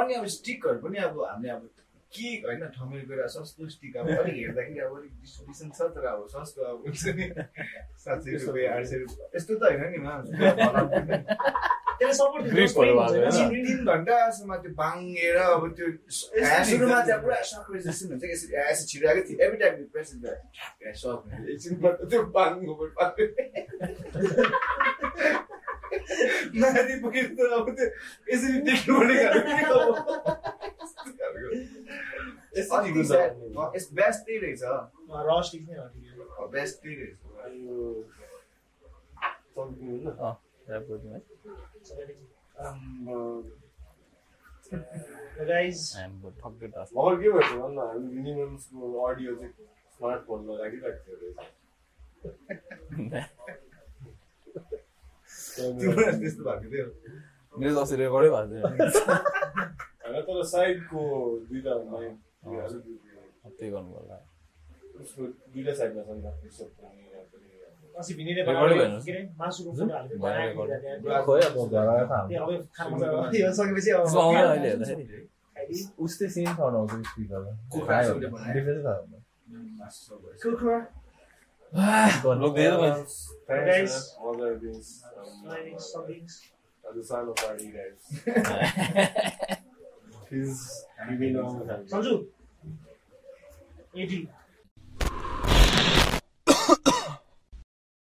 Speaker 4: अनि अब स्टिकहरू पनि अब हामीले अब के होइन ठमेल गएर सस्तो स्टिक अब अलिक हेर्दाखेरि अब अलिक डिस- डिसेन्ट छ तर अब सस्तो अब हुन्छ नि सात सय रुपियाँ आठ सय रुपियाँ यस्तो त होइन नि मा
Speaker 1: त्यसले सपोर्ट
Speaker 3: ग्रिपहरू भएको
Speaker 1: हुन्छ
Speaker 3: होइन?
Speaker 1: नि।
Speaker 4: तिन घन्टासम्म त्यो बाङ्गेर अब त्यो ह्यास सुरुमा चाहिँ पुरा सक रेजिस्टेन्ट हुन्छ कि यसरी ह्यास छिराएको थियो एभ्री टाइम प्रेस सक एकछिनबाट त्यो बाङ्गो माथि पुगेर त अब त्यो यसरी देख्नु पर्ने बेस्ट त्यही रहेछ
Speaker 1: र स्टिक नै हो ठिकै हो।
Speaker 4: बेस्ट त्यही रहेछ
Speaker 1: सबैले
Speaker 2: Um, uh,
Speaker 1: गाइज
Speaker 2: भर्खर के भएछ भन्दा हामी मिनिमम्सको अडियो चाहिँ स्मार्टफोनमा राखिराखेको थियो
Speaker 4: त्यो
Speaker 2: रहेछ
Speaker 4: त्यस्तो भएको थियो
Speaker 3: मेरो त अस्ति रेकर्डै भएको थियो
Speaker 2: होइन तर साइडको दुइटा माइक अलिकति
Speaker 3: त्यही गर्नु पर्ला
Speaker 2: उसको दुइटा साइडमा छन् त, रिसोर्ट पनि, यहाँ पनि।
Speaker 1: अस्ति भिनीले
Speaker 3: रेकर्डै
Speaker 1: बनाएको
Speaker 3: भएन।
Speaker 1: के अरे मासुको फोटो हालेको
Speaker 3: भएन
Speaker 1: बनाएको
Speaker 3: रेकर्ड।
Speaker 1: थियो त्यहाँ।
Speaker 3: खोइ अब
Speaker 1: त्यो अब खानु मजा आयो। यो सकेपछि अब
Speaker 3: त्यसमा आउँदैन अहिले हेर्दाखेरि
Speaker 4: né?
Speaker 1: खाइदिउँ।
Speaker 5: उस्तै सेम साउन्ड आउँछ स्पिकरमा
Speaker 3: né?
Speaker 4: कुखुरासुरले बनायो।
Speaker 5: डिफ्रेन्स आउँदैन
Speaker 1: कुकुर
Speaker 3: लोग्दै त भयो।
Speaker 2: Thanks, mother beans,
Speaker 1: Mining
Speaker 2: um,
Speaker 1: somethings.
Speaker 2: at the sign of our leaders. He's giving us-
Speaker 1: सम्झु एटी